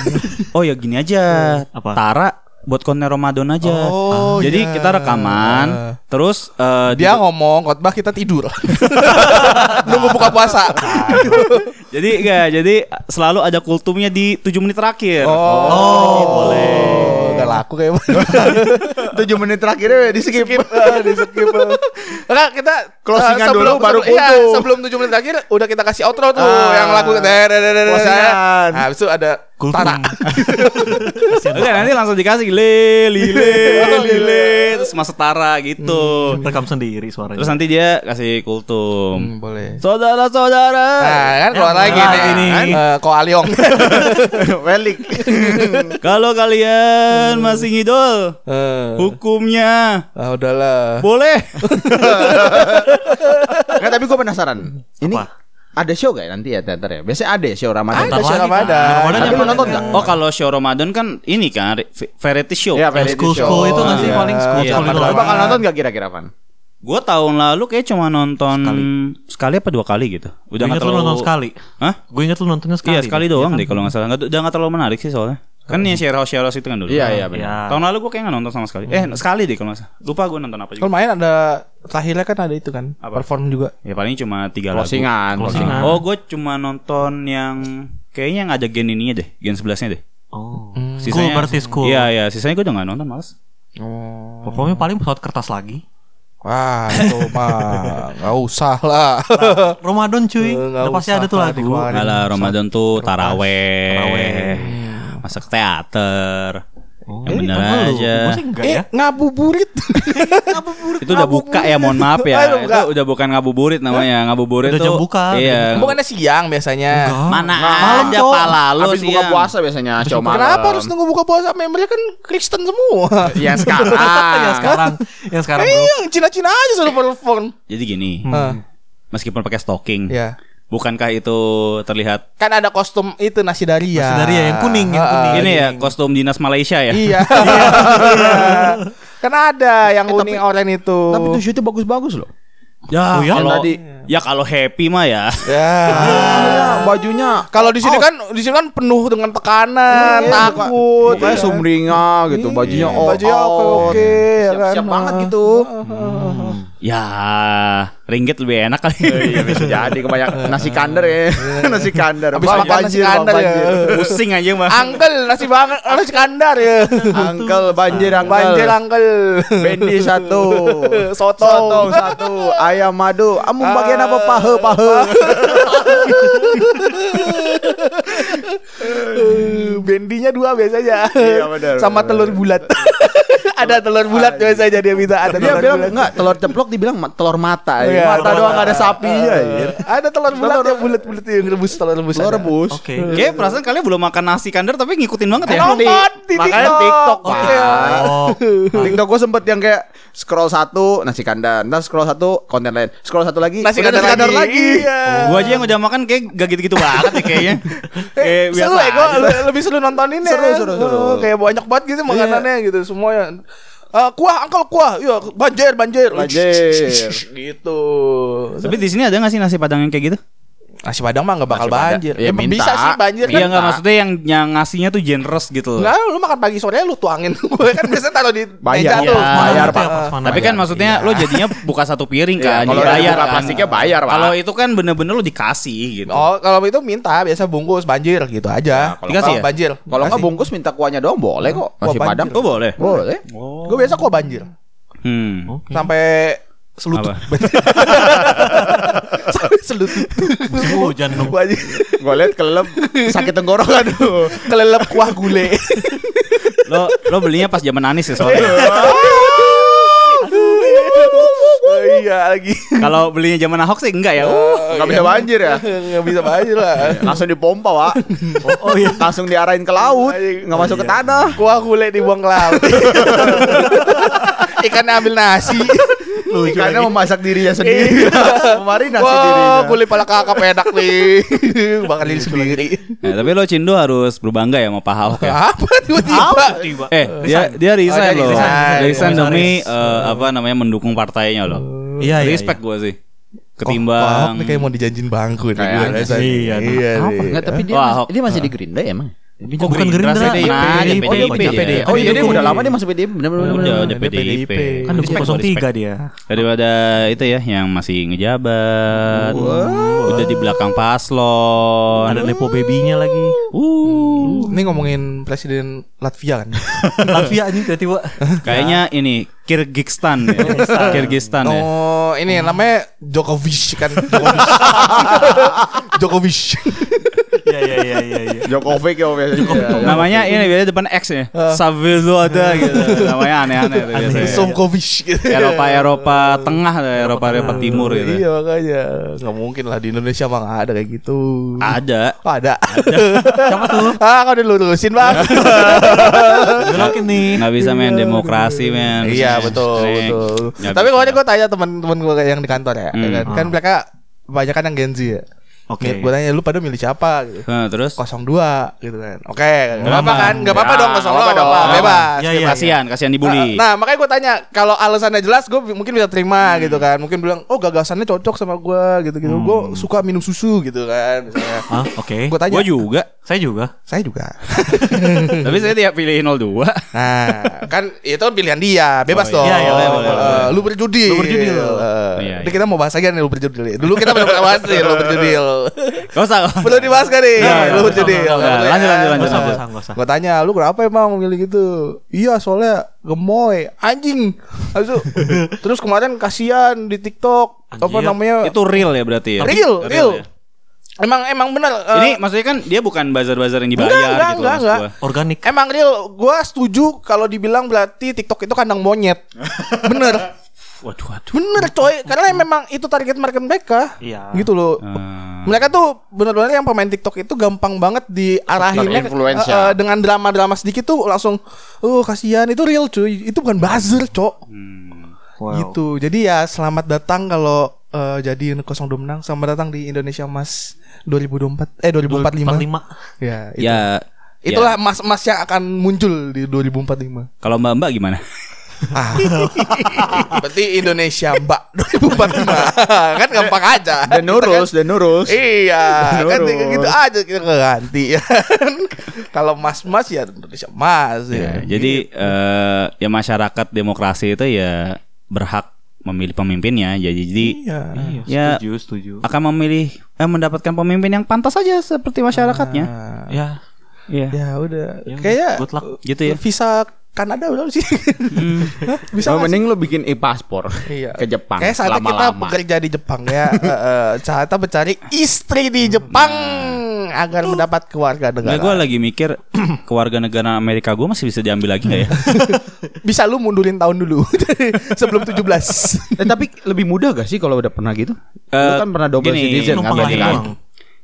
[SPEAKER 3] Oh ya gini aja.
[SPEAKER 2] Apa?
[SPEAKER 3] Tara buat konten Ramadan aja. Ah.
[SPEAKER 5] Oh,
[SPEAKER 3] Jadi
[SPEAKER 5] iya.
[SPEAKER 3] kita rekaman terus eh,
[SPEAKER 5] Dia
[SPEAKER 3] di-
[SPEAKER 5] ngomong khotbah kita tidur. Nunggu buka puasa.
[SPEAKER 3] jadi enggak jadi selalu ada kultumnya di 7 menit terakhir.
[SPEAKER 2] Oh, boleh.
[SPEAKER 5] Gak laku kayaknya.
[SPEAKER 4] 7 menit terakhirnya di skip.
[SPEAKER 5] Eh, di skip. eh. Enggak, kita
[SPEAKER 4] Closingan
[SPEAKER 5] eh,
[SPEAKER 4] dulu, baru
[SPEAKER 5] sebelum, iya,
[SPEAKER 4] kutu.
[SPEAKER 5] sebelum 7 menit terakhir udah kita kasih outro tuh
[SPEAKER 4] Ah.
[SPEAKER 5] yang lagu
[SPEAKER 4] Closingan.
[SPEAKER 5] Nah, habis itu ada
[SPEAKER 2] Kultum.
[SPEAKER 5] Tara.
[SPEAKER 3] Enggak nanti langsung dikasih le lile lile terus masa Tara
[SPEAKER 5] Hmm.
[SPEAKER 3] gitu.
[SPEAKER 2] Rekam sendiri suaranya.
[SPEAKER 3] Terus nanti dia kasih kultum.
[SPEAKER 5] boleh.
[SPEAKER 3] Saudara-saudara.
[SPEAKER 5] Nah, kan
[SPEAKER 2] Ya,
[SPEAKER 5] keluar lagi nih.
[SPEAKER 2] keluar ini.
[SPEAKER 5] Kan, eh, Koaliong.
[SPEAKER 4] Welik.
[SPEAKER 3] Kalau
[SPEAKER 5] Hmm.
[SPEAKER 3] kalian masih ngidol,
[SPEAKER 5] Eh,
[SPEAKER 3] hukumnya
[SPEAKER 5] ah, udahlah.
[SPEAKER 3] boleh.
[SPEAKER 4] Nggak, tapi gue penasaran. Ini
[SPEAKER 2] Apa?
[SPEAKER 4] ada show gak ya nanti ya teater ya? Biasanya ada show Ramadan.
[SPEAKER 5] Ada
[SPEAKER 2] Ntar
[SPEAKER 5] show
[SPEAKER 2] lagi,
[SPEAKER 5] Ramadan.
[SPEAKER 2] kan. Ramadan
[SPEAKER 4] Tapi
[SPEAKER 2] yang
[SPEAKER 4] lu nonton
[SPEAKER 2] mana?
[SPEAKER 4] nggak?
[SPEAKER 3] Oh, kalau show Ramadan kan ini kan re- variety show.
[SPEAKER 2] Yang
[SPEAKER 4] Iya, variety
[SPEAKER 2] school-school
[SPEAKER 4] show.
[SPEAKER 2] itu nggak sih
[SPEAKER 5] Iya.
[SPEAKER 2] paling school
[SPEAKER 3] Iya,
[SPEAKER 2] school itu
[SPEAKER 4] Lu
[SPEAKER 5] Ramadan.
[SPEAKER 4] bakal nonton gak kira-kira Van?
[SPEAKER 3] Gua tahun lalu kayak cuma nonton sekali, apa dua kali gitu. Udah
[SPEAKER 2] Gue
[SPEAKER 3] nggak
[SPEAKER 2] inget lu
[SPEAKER 3] terlalu
[SPEAKER 2] nonton sekali
[SPEAKER 3] Hah?
[SPEAKER 2] Gue inget lu nontonnya sekali
[SPEAKER 3] Iya sekali
[SPEAKER 2] deh.
[SPEAKER 3] doang
[SPEAKER 2] Iya kan?
[SPEAKER 3] deh kalau nggak salah. Nggak- Udah nggak terlalu menarik sih soalnya. Kan yang share house share house itu kan dulu.
[SPEAKER 4] Iya, iya, benar.
[SPEAKER 2] Iya.
[SPEAKER 3] Tahun lalu gue kayak nggak nonton sama sekali. Eh sekali deh kalau nggak salah. Lupa gue nonton apa
[SPEAKER 5] Kalau
[SPEAKER 3] juga.
[SPEAKER 5] main ada terakhirnya kan ada itu kan
[SPEAKER 3] Apa?
[SPEAKER 5] perform juga.
[SPEAKER 3] Ya paling cuma tiga lagu.
[SPEAKER 4] Closingan.
[SPEAKER 2] Closingan.
[SPEAKER 3] Oh gue cuma nonton yang kayaknya yang ada gen ininya deh, gen sebelasnya deh.
[SPEAKER 2] Oh. School berarti school.
[SPEAKER 3] Iya iya, sisanya gue udah nggak nonton males.
[SPEAKER 5] Oh.
[SPEAKER 2] Performnya paling pesawat kertas lagi.
[SPEAKER 5] Wah, itu mah nggak usah lah.
[SPEAKER 2] Ramadan
[SPEAKER 5] Eh,
[SPEAKER 2] cuy.
[SPEAKER 5] nggak
[SPEAKER 2] Udah pasti
[SPEAKER 5] usah
[SPEAKER 2] ada tuh lagu.
[SPEAKER 5] dikeluarin. Paling
[SPEAKER 3] Alah Ramadan tuh taraweh,
[SPEAKER 2] Taraweh.
[SPEAKER 3] masak teater.
[SPEAKER 2] Oh,
[SPEAKER 3] Yang bener
[SPEAKER 2] apa lu?
[SPEAKER 3] aja.
[SPEAKER 2] Gua sih enggak ya.
[SPEAKER 5] eh, ngabuburit. ngabuburit.
[SPEAKER 3] Itu udah buka ya, mohon maaf ya.
[SPEAKER 5] Ayo, buka.
[SPEAKER 3] itu udah bukan ngabuburit namanya, ngabuburit
[SPEAKER 2] Udah
[SPEAKER 3] tuh.
[SPEAKER 2] jam buka.
[SPEAKER 3] Iya.
[SPEAKER 5] Bukannya siang biasanya.
[SPEAKER 2] Enggak.
[SPEAKER 3] Mana
[SPEAKER 4] Malam,
[SPEAKER 3] ada
[SPEAKER 2] Cok.
[SPEAKER 3] pala lu
[SPEAKER 4] Habis buka
[SPEAKER 3] siang.
[SPEAKER 4] puasa biasanya cowok malam.
[SPEAKER 5] Kenapa harus nunggu buka puasa? Membernya kan Kristen semua.
[SPEAKER 4] Ya sekarang.
[SPEAKER 2] yang Iya, sekarang, yang sekarang bro.
[SPEAKER 5] Iya, yang Cina-Cina aja sudah perform.
[SPEAKER 3] Jadi gini,
[SPEAKER 5] Heeh.
[SPEAKER 3] meskipun pakai stocking,
[SPEAKER 5] Iya.
[SPEAKER 3] bukankah itu terlihat
[SPEAKER 5] Kan ada kostum itu nasi ya. daria.
[SPEAKER 2] Nasidaria, ya, yang kuning, yang
[SPEAKER 5] Heeh.
[SPEAKER 2] kuning. Ah,
[SPEAKER 3] ini ya
[SPEAKER 2] gini.
[SPEAKER 3] kostum dinas Malaysia ya?
[SPEAKER 5] Iya. Kan ada yang kuning oranye itu.
[SPEAKER 4] Eh, Tapi tuh shootnya bagus-bagus loh.
[SPEAKER 3] Ya,
[SPEAKER 2] Oh ya?
[SPEAKER 3] kalau
[SPEAKER 4] Yang tadi.
[SPEAKER 3] ya kalau happy mah ya.
[SPEAKER 5] Ya.
[SPEAKER 4] Ah, bajunya
[SPEAKER 5] Kalau di sini
[SPEAKER 4] Oh.
[SPEAKER 5] kan di sini kan penuh dengan
[SPEAKER 4] Iya,
[SPEAKER 5] tekanan, takut.
[SPEAKER 4] Mukanya
[SPEAKER 5] Iya.
[SPEAKER 4] ya? sumringah gitu, bajunya
[SPEAKER 5] Iya,
[SPEAKER 4] all
[SPEAKER 5] bajunya
[SPEAKER 4] out.
[SPEAKER 5] oke-oke, ya
[SPEAKER 4] Siap-siap
[SPEAKER 5] kan?
[SPEAKER 4] banget
[SPEAKER 5] Ah.
[SPEAKER 4] gitu.
[SPEAKER 3] Ya, ringgit lebih enak kali.
[SPEAKER 4] Iya bisa jadi kebanyakan nasi kandar ya. nasi kandar.
[SPEAKER 5] Habis
[SPEAKER 4] Bang,
[SPEAKER 5] makan nasi
[SPEAKER 4] Bang,
[SPEAKER 5] kandar ya.
[SPEAKER 4] banjir.
[SPEAKER 3] Pusing aja mah.
[SPEAKER 5] Angkel nasi banget, nasi kandar ya.
[SPEAKER 4] Angkel banjir angkel.
[SPEAKER 5] Banjir angkel.
[SPEAKER 4] Bendi satu.
[SPEAKER 5] Soto.
[SPEAKER 4] Sotong satu. Ayam madu. Amu bagian apa pahe pahe.
[SPEAKER 5] Ah. Bendinya dua biasanya.
[SPEAKER 4] Iya, benar,
[SPEAKER 5] Sama
[SPEAKER 4] benar,
[SPEAKER 5] telur
[SPEAKER 4] benar.
[SPEAKER 5] bulat. ada telur bulat
[SPEAKER 4] Anjing.
[SPEAKER 5] biasanya dia minta ada
[SPEAKER 4] Dia
[SPEAKER 5] telur
[SPEAKER 4] bilang
[SPEAKER 5] bulat.
[SPEAKER 4] enggak telur ceplok dibilang ma- telur mata.
[SPEAKER 5] Iya.
[SPEAKER 4] Ya. Mata doang nggak ada sapinya. ya.
[SPEAKER 5] Ada telur bulat yang bulat-bulat yang rebus telur rebus.
[SPEAKER 4] Telur
[SPEAKER 5] ada.
[SPEAKER 4] rebus.
[SPEAKER 2] Oke.
[SPEAKER 5] Iya.
[SPEAKER 3] Oke, Iya, perasaan kalian belum makan nasi kandar tapi ngikutin banget ya.
[SPEAKER 5] Gitu. Nonton di,
[SPEAKER 4] Di- makanya TikTok, Pak.
[SPEAKER 5] Oke.
[SPEAKER 2] Oh,
[SPEAKER 5] Iya,
[SPEAKER 4] TikTok gue sempet yang kayak scroll satu nasi kandar, ntar scroll satu konten lain, scroll satu lagi
[SPEAKER 5] Nasi
[SPEAKER 4] udah
[SPEAKER 5] kandar lagi. Iya.
[SPEAKER 3] Gua aja yang udah makan kayak gak gitu-gitu banget ya kayaknya. Kayak
[SPEAKER 5] Eh,
[SPEAKER 3] biasa.
[SPEAKER 5] seru ya, gua
[SPEAKER 3] aja.
[SPEAKER 5] le- lebih seru nontonin ya.
[SPEAKER 4] Seru, seru, seru.
[SPEAKER 5] Oh, kayak banyak banget gitu makanannya gitu semuanya. Eh, kuah, angkel kuah. Iya, banjir, banjir.
[SPEAKER 4] Banjir.
[SPEAKER 5] gitu.
[SPEAKER 3] Tapi di sini ada gak sih nasi padang yang kayak gitu?
[SPEAKER 5] Nasi Padang mah gak bakal
[SPEAKER 4] Nasi Padang.
[SPEAKER 5] banjir.
[SPEAKER 4] Ya,
[SPEAKER 5] Emang
[SPEAKER 4] minta.
[SPEAKER 5] bisa sih banjir
[SPEAKER 3] Iya
[SPEAKER 5] kan.
[SPEAKER 3] nggak maksudnya yang yang ngasihnya tuh generous gitu. loh.
[SPEAKER 5] Enggak, lu makan pagi sore lu tuangin. Gue kan biasanya taruh di
[SPEAKER 4] Bayar,
[SPEAKER 5] meja
[SPEAKER 3] iya.
[SPEAKER 5] tuh.
[SPEAKER 2] bayar
[SPEAKER 3] Bayar,
[SPEAKER 2] Pak.
[SPEAKER 3] Tapi
[SPEAKER 2] ya?
[SPEAKER 3] kan maksudnya lo jadinya buka satu
[SPEAKER 5] Iya,
[SPEAKER 3] piring kan,
[SPEAKER 4] Ya, Kalau
[SPEAKER 3] dibayar
[SPEAKER 4] bayar
[SPEAKER 3] kan.
[SPEAKER 4] plastiknya bayar pak.
[SPEAKER 3] Kalau itu kan bener-bener lo dikasih gitu.
[SPEAKER 5] Oh, kalau itu minta biasa bungkus banjir gitu aja.
[SPEAKER 3] kalau Dikasih
[SPEAKER 5] Kalau
[SPEAKER 3] ya?
[SPEAKER 5] banjir.
[SPEAKER 4] kalau nggak
[SPEAKER 5] dikasih.
[SPEAKER 4] bungkus minta kuahnya doang boleh kok.
[SPEAKER 5] Kuah
[SPEAKER 4] Nasi
[SPEAKER 5] banjir.
[SPEAKER 4] padang
[SPEAKER 3] Lo boleh.
[SPEAKER 4] boleh.
[SPEAKER 5] Gue biasa kok banjir.
[SPEAKER 3] Hmm.
[SPEAKER 5] Sampai Oh, selutut.
[SPEAKER 3] Apa?
[SPEAKER 5] Sampai selutut.
[SPEAKER 2] Musim hujan dong.
[SPEAKER 5] Banjir.
[SPEAKER 4] Gue liat kelelep sakit tenggorokan tuh.
[SPEAKER 5] Kelelep kuah gulai.
[SPEAKER 3] Lo lo belinya pas zaman Anis ya soalnya.
[SPEAKER 5] Oh, iya lagi.
[SPEAKER 3] Kalau belinya zaman Ahok sih enggak ya.
[SPEAKER 5] Oh.
[SPEAKER 3] Uh.
[SPEAKER 4] Nggak bisa banjir ya.
[SPEAKER 5] Enggak bisa banjir lah.
[SPEAKER 4] Langsung dipompa pak. Oh, iya. Langsung diarahin ke laut, nggak masuk ke tanah.
[SPEAKER 5] Kuah Ah. gulai dibuang ke laut. Ikannya ambil nasi.
[SPEAKER 4] Karena memasak dirinya sendiri. Memarinasi
[SPEAKER 5] Wah,
[SPEAKER 4] dirinya.
[SPEAKER 5] gulai pala kakap enak nih. Makan diri sendiri.
[SPEAKER 3] Nah, tapi lo Cindo harus berbangga ya sama Pak Ahok ya.
[SPEAKER 5] Apa tiba-tiba?
[SPEAKER 2] Tiba.
[SPEAKER 3] Eh, dia dia resign
[SPEAKER 5] dia
[SPEAKER 3] loh.
[SPEAKER 5] resign.
[SPEAKER 3] Resign
[SPEAKER 2] Resign.
[SPEAKER 3] demi eh, apa namanya mendukung partainya loh.
[SPEAKER 2] Iya, iya,
[SPEAKER 3] Respect gue sih.
[SPEAKER 5] Kok Ahok
[SPEAKER 3] Ketimbang
[SPEAKER 5] nih kayak mau dijanjin bangku nih.
[SPEAKER 4] Kayaknya
[SPEAKER 5] Gua rasa
[SPEAKER 2] sih,
[SPEAKER 5] nih.
[SPEAKER 2] iya.
[SPEAKER 5] Iya.
[SPEAKER 2] Apa?
[SPEAKER 5] nih.
[SPEAKER 4] Nggak, tapi dia,
[SPEAKER 3] Wah,
[SPEAKER 4] mas-
[SPEAKER 3] Ahok.
[SPEAKER 4] dia masih di Gerindra ya, emang.
[SPEAKER 3] iya.
[SPEAKER 2] Kok bukan
[SPEAKER 3] Gerindra,
[SPEAKER 2] Gerindra? Nah,
[SPEAKER 3] PDIP.
[SPEAKER 2] PDIP,
[SPEAKER 3] Oh, dia
[SPEAKER 2] PDIP.
[SPEAKER 3] PDIP.
[SPEAKER 4] Oh, iya, dia
[SPEAKER 5] Dukung.
[SPEAKER 4] udah lama dia masuk PDI. Bener, bener, bener,
[SPEAKER 3] udah
[SPEAKER 4] bener.
[SPEAKER 3] udah
[SPEAKER 5] Dia
[SPEAKER 3] PDIP.
[SPEAKER 5] PDIP.
[SPEAKER 2] Kan dukung 03
[SPEAKER 3] Respect, respect.
[SPEAKER 2] dia.
[SPEAKER 3] Daripada itu ya yang masih ngejabat. Udah di belakang paslon.
[SPEAKER 2] Ada Lepo Baby-nya lagi.
[SPEAKER 3] Oh, iya. Uh.
[SPEAKER 5] Ini ngomongin presiden Latvia kan.
[SPEAKER 2] Latvia anjing tiba-tiba.
[SPEAKER 3] Kayaknya ini Kyrgyzstan ya. Kyrgyzstan ya.
[SPEAKER 5] Oh, ini namanya Djokovic kan. Djokovic. Djokovic.
[SPEAKER 2] Iya iya iya iya iya.
[SPEAKER 4] Jokovic ya biasanya.
[SPEAKER 2] Oh.
[SPEAKER 3] Namanya ini biasanya depan X ya.
[SPEAKER 2] Ah.
[SPEAKER 3] Savilo ada gitu. Namanya aneh-aneh tuh biasanya.
[SPEAKER 5] Somkovic gitu.
[SPEAKER 3] Eropa Eropa tengah ada Eropa Eropa timur gitu.
[SPEAKER 5] Iya makanya nggak mungkin lah di Indonesia mah nggak ada kayak gitu.
[SPEAKER 3] Ada.
[SPEAKER 5] Kok ada? Siapa tuh? Ah, kau dilurusin bang.
[SPEAKER 2] Gelokin nih.
[SPEAKER 3] Nggak bisa main demokrasi men.
[SPEAKER 5] iya betul
[SPEAKER 3] Nih.
[SPEAKER 5] betul.
[SPEAKER 3] Nggak
[SPEAKER 5] Tapi
[SPEAKER 3] bisa.
[SPEAKER 5] kemarin gue tanya teman-teman gue yang di kantor ya,
[SPEAKER 3] Hmm.
[SPEAKER 5] kan, kan mereka banyak kan yang Gen Z ya.
[SPEAKER 2] Oke.
[SPEAKER 5] Gue tanya lu pada milih siapa gitu.
[SPEAKER 3] Nah, terus
[SPEAKER 5] 02 gitu kan. Oke, nggak apa-apa
[SPEAKER 3] Aman.
[SPEAKER 5] kan? Gak apa-apa
[SPEAKER 4] Ya,
[SPEAKER 5] dong 02
[SPEAKER 4] nggak apa-apa
[SPEAKER 5] nggak apa-apa,
[SPEAKER 4] dong.
[SPEAKER 5] bebas.
[SPEAKER 2] Ya,
[SPEAKER 5] bebas.
[SPEAKER 2] ya,
[SPEAKER 3] kasihan, kasihan dibully.
[SPEAKER 5] Iya, Nah, makanya gue tanya kalau alasannya jelas gue mungkin bisa terima
[SPEAKER 2] Hmm.
[SPEAKER 5] gitu kan. Mungkin bilang oh gagasannya cocok sama gue gitu-gitu. Gue suka minum susu gitu kan. misalnya.
[SPEAKER 2] Hah? Oke.
[SPEAKER 5] Gue tanya.
[SPEAKER 3] Gua juga,
[SPEAKER 2] Saya juga.
[SPEAKER 5] Saya juga.
[SPEAKER 3] tapi saya tidak pilih 02.
[SPEAKER 5] Nah, kan itu kan pilihan dia, bebas
[SPEAKER 3] Oh,
[SPEAKER 5] dong.
[SPEAKER 2] iya. Iya, iya, boleh,
[SPEAKER 3] boleh,
[SPEAKER 5] Eh,
[SPEAKER 3] boleh.
[SPEAKER 5] Lu berjudil.
[SPEAKER 2] Lu berjudil.
[SPEAKER 5] Eh,
[SPEAKER 3] Iya,
[SPEAKER 5] ini
[SPEAKER 3] iya.
[SPEAKER 5] kita mau bahas lagi nih lu berjudil. Dulu kita belum pernah bahas nih lu berjudil.
[SPEAKER 3] Gak usah. gak usah.
[SPEAKER 5] Belum dibahas kan nih,
[SPEAKER 2] Iya,
[SPEAKER 5] lu
[SPEAKER 2] iya,
[SPEAKER 5] berjudil.
[SPEAKER 2] iya, iya.
[SPEAKER 3] Lanjut,
[SPEAKER 5] Boleh, kan?
[SPEAKER 3] lanjut, lanjut.
[SPEAKER 2] Gak usah,
[SPEAKER 5] Nah.
[SPEAKER 2] gak usah, gak usah.
[SPEAKER 5] Gue tanya lu kenapa emang memilih gitu Iya soalnya gemoy Anjing Habis itu, Terus kemarin kasihan di tiktok Apa
[SPEAKER 2] Anjir,
[SPEAKER 5] namanya
[SPEAKER 3] iya. Itu real ya berarti ya.
[SPEAKER 5] Real Real
[SPEAKER 3] ya?
[SPEAKER 5] Emang emang bener eh,
[SPEAKER 3] Ini maksudnya kan dia bukan bazar-bazar yang dibayar
[SPEAKER 5] Enggak, enggak,
[SPEAKER 3] gitu loh,
[SPEAKER 5] enggak,
[SPEAKER 3] maksud
[SPEAKER 5] enggak.
[SPEAKER 3] gua.
[SPEAKER 2] Organik.
[SPEAKER 5] Emang real Gue setuju Kalau dibilang berarti tiktok itu kandang monyet Bener
[SPEAKER 3] Waduh, waduh.
[SPEAKER 5] Bener coy Karena memang itu target market mereka
[SPEAKER 2] Iya.
[SPEAKER 5] Gitu loh
[SPEAKER 3] Iya. Ah.
[SPEAKER 5] Mereka tuh bener-bener yang pemain TikTok itu gampang banget diarahinnya
[SPEAKER 4] Influencer.
[SPEAKER 5] eh, eh, dengan drama-drama sedikit tuh langsung oh kasihan itu real cuy itu bukan buzzer cok gitu jadi ya selamat datang kalau eh, jadi 02 menang selamat datang di Indonesia Mas 2024 eh 2045
[SPEAKER 2] 45.
[SPEAKER 5] ya itu.
[SPEAKER 3] Ya,
[SPEAKER 5] itulah
[SPEAKER 3] ya.
[SPEAKER 5] mas-mas yang akan muncul di 2045
[SPEAKER 3] Kalau Mbak-mbak gimana?
[SPEAKER 5] ah. berarti Indonesia Mbak 2045 kan gampang aja
[SPEAKER 4] Dan nurus, dan nurus.
[SPEAKER 5] Iya, kan
[SPEAKER 4] Menurut.
[SPEAKER 5] gitu aja kita ganti ya. kan. Kalau mas-mas ya Indonesia mas ya.
[SPEAKER 3] Ya, jadi eh, ya masyarakat demokrasi itu ya berhak memilih pemimpinnya. Jadi jadi
[SPEAKER 5] Iya.
[SPEAKER 2] Iya,
[SPEAKER 3] Ya.
[SPEAKER 2] setuju, setuju.
[SPEAKER 3] akan memilih eh, mendapatkan pemimpin yang pantas aja seperti masyarakatnya.
[SPEAKER 2] Ya,
[SPEAKER 3] Iya.
[SPEAKER 5] Ah. Ya udah.
[SPEAKER 2] Ya,
[SPEAKER 5] Kayaknya
[SPEAKER 2] good luck.
[SPEAKER 3] Gitu ya.
[SPEAKER 5] Visa Kanada udah sih. Bisa
[SPEAKER 4] Nah,
[SPEAKER 5] nggak sih?
[SPEAKER 4] mending lu bikin e-paspor ke Jepang
[SPEAKER 5] Iya. Kayak saatnya kita
[SPEAKER 4] lama-lama.
[SPEAKER 5] bekerja di Jepang ya. Eh, eh, saatnya mencari istri di Jepang agar mendapat keluarga
[SPEAKER 3] Nggak, gue
[SPEAKER 5] negara.
[SPEAKER 3] lagi mikir kewarganegaraan Amerika gue masih bisa diambil lagi nggak ya?
[SPEAKER 5] Bisa lu mundurin tahun dulu sebelum 17.
[SPEAKER 4] Eh, tapi lebih mudah gak sih kalau udah pernah gitu? lu
[SPEAKER 3] Eh,
[SPEAKER 4] kan pernah double
[SPEAKER 3] gini,
[SPEAKER 4] citizen kan
[SPEAKER 2] numpang
[SPEAKER 4] berarti
[SPEAKER 2] lahir
[SPEAKER 4] kan?
[SPEAKER 2] doang.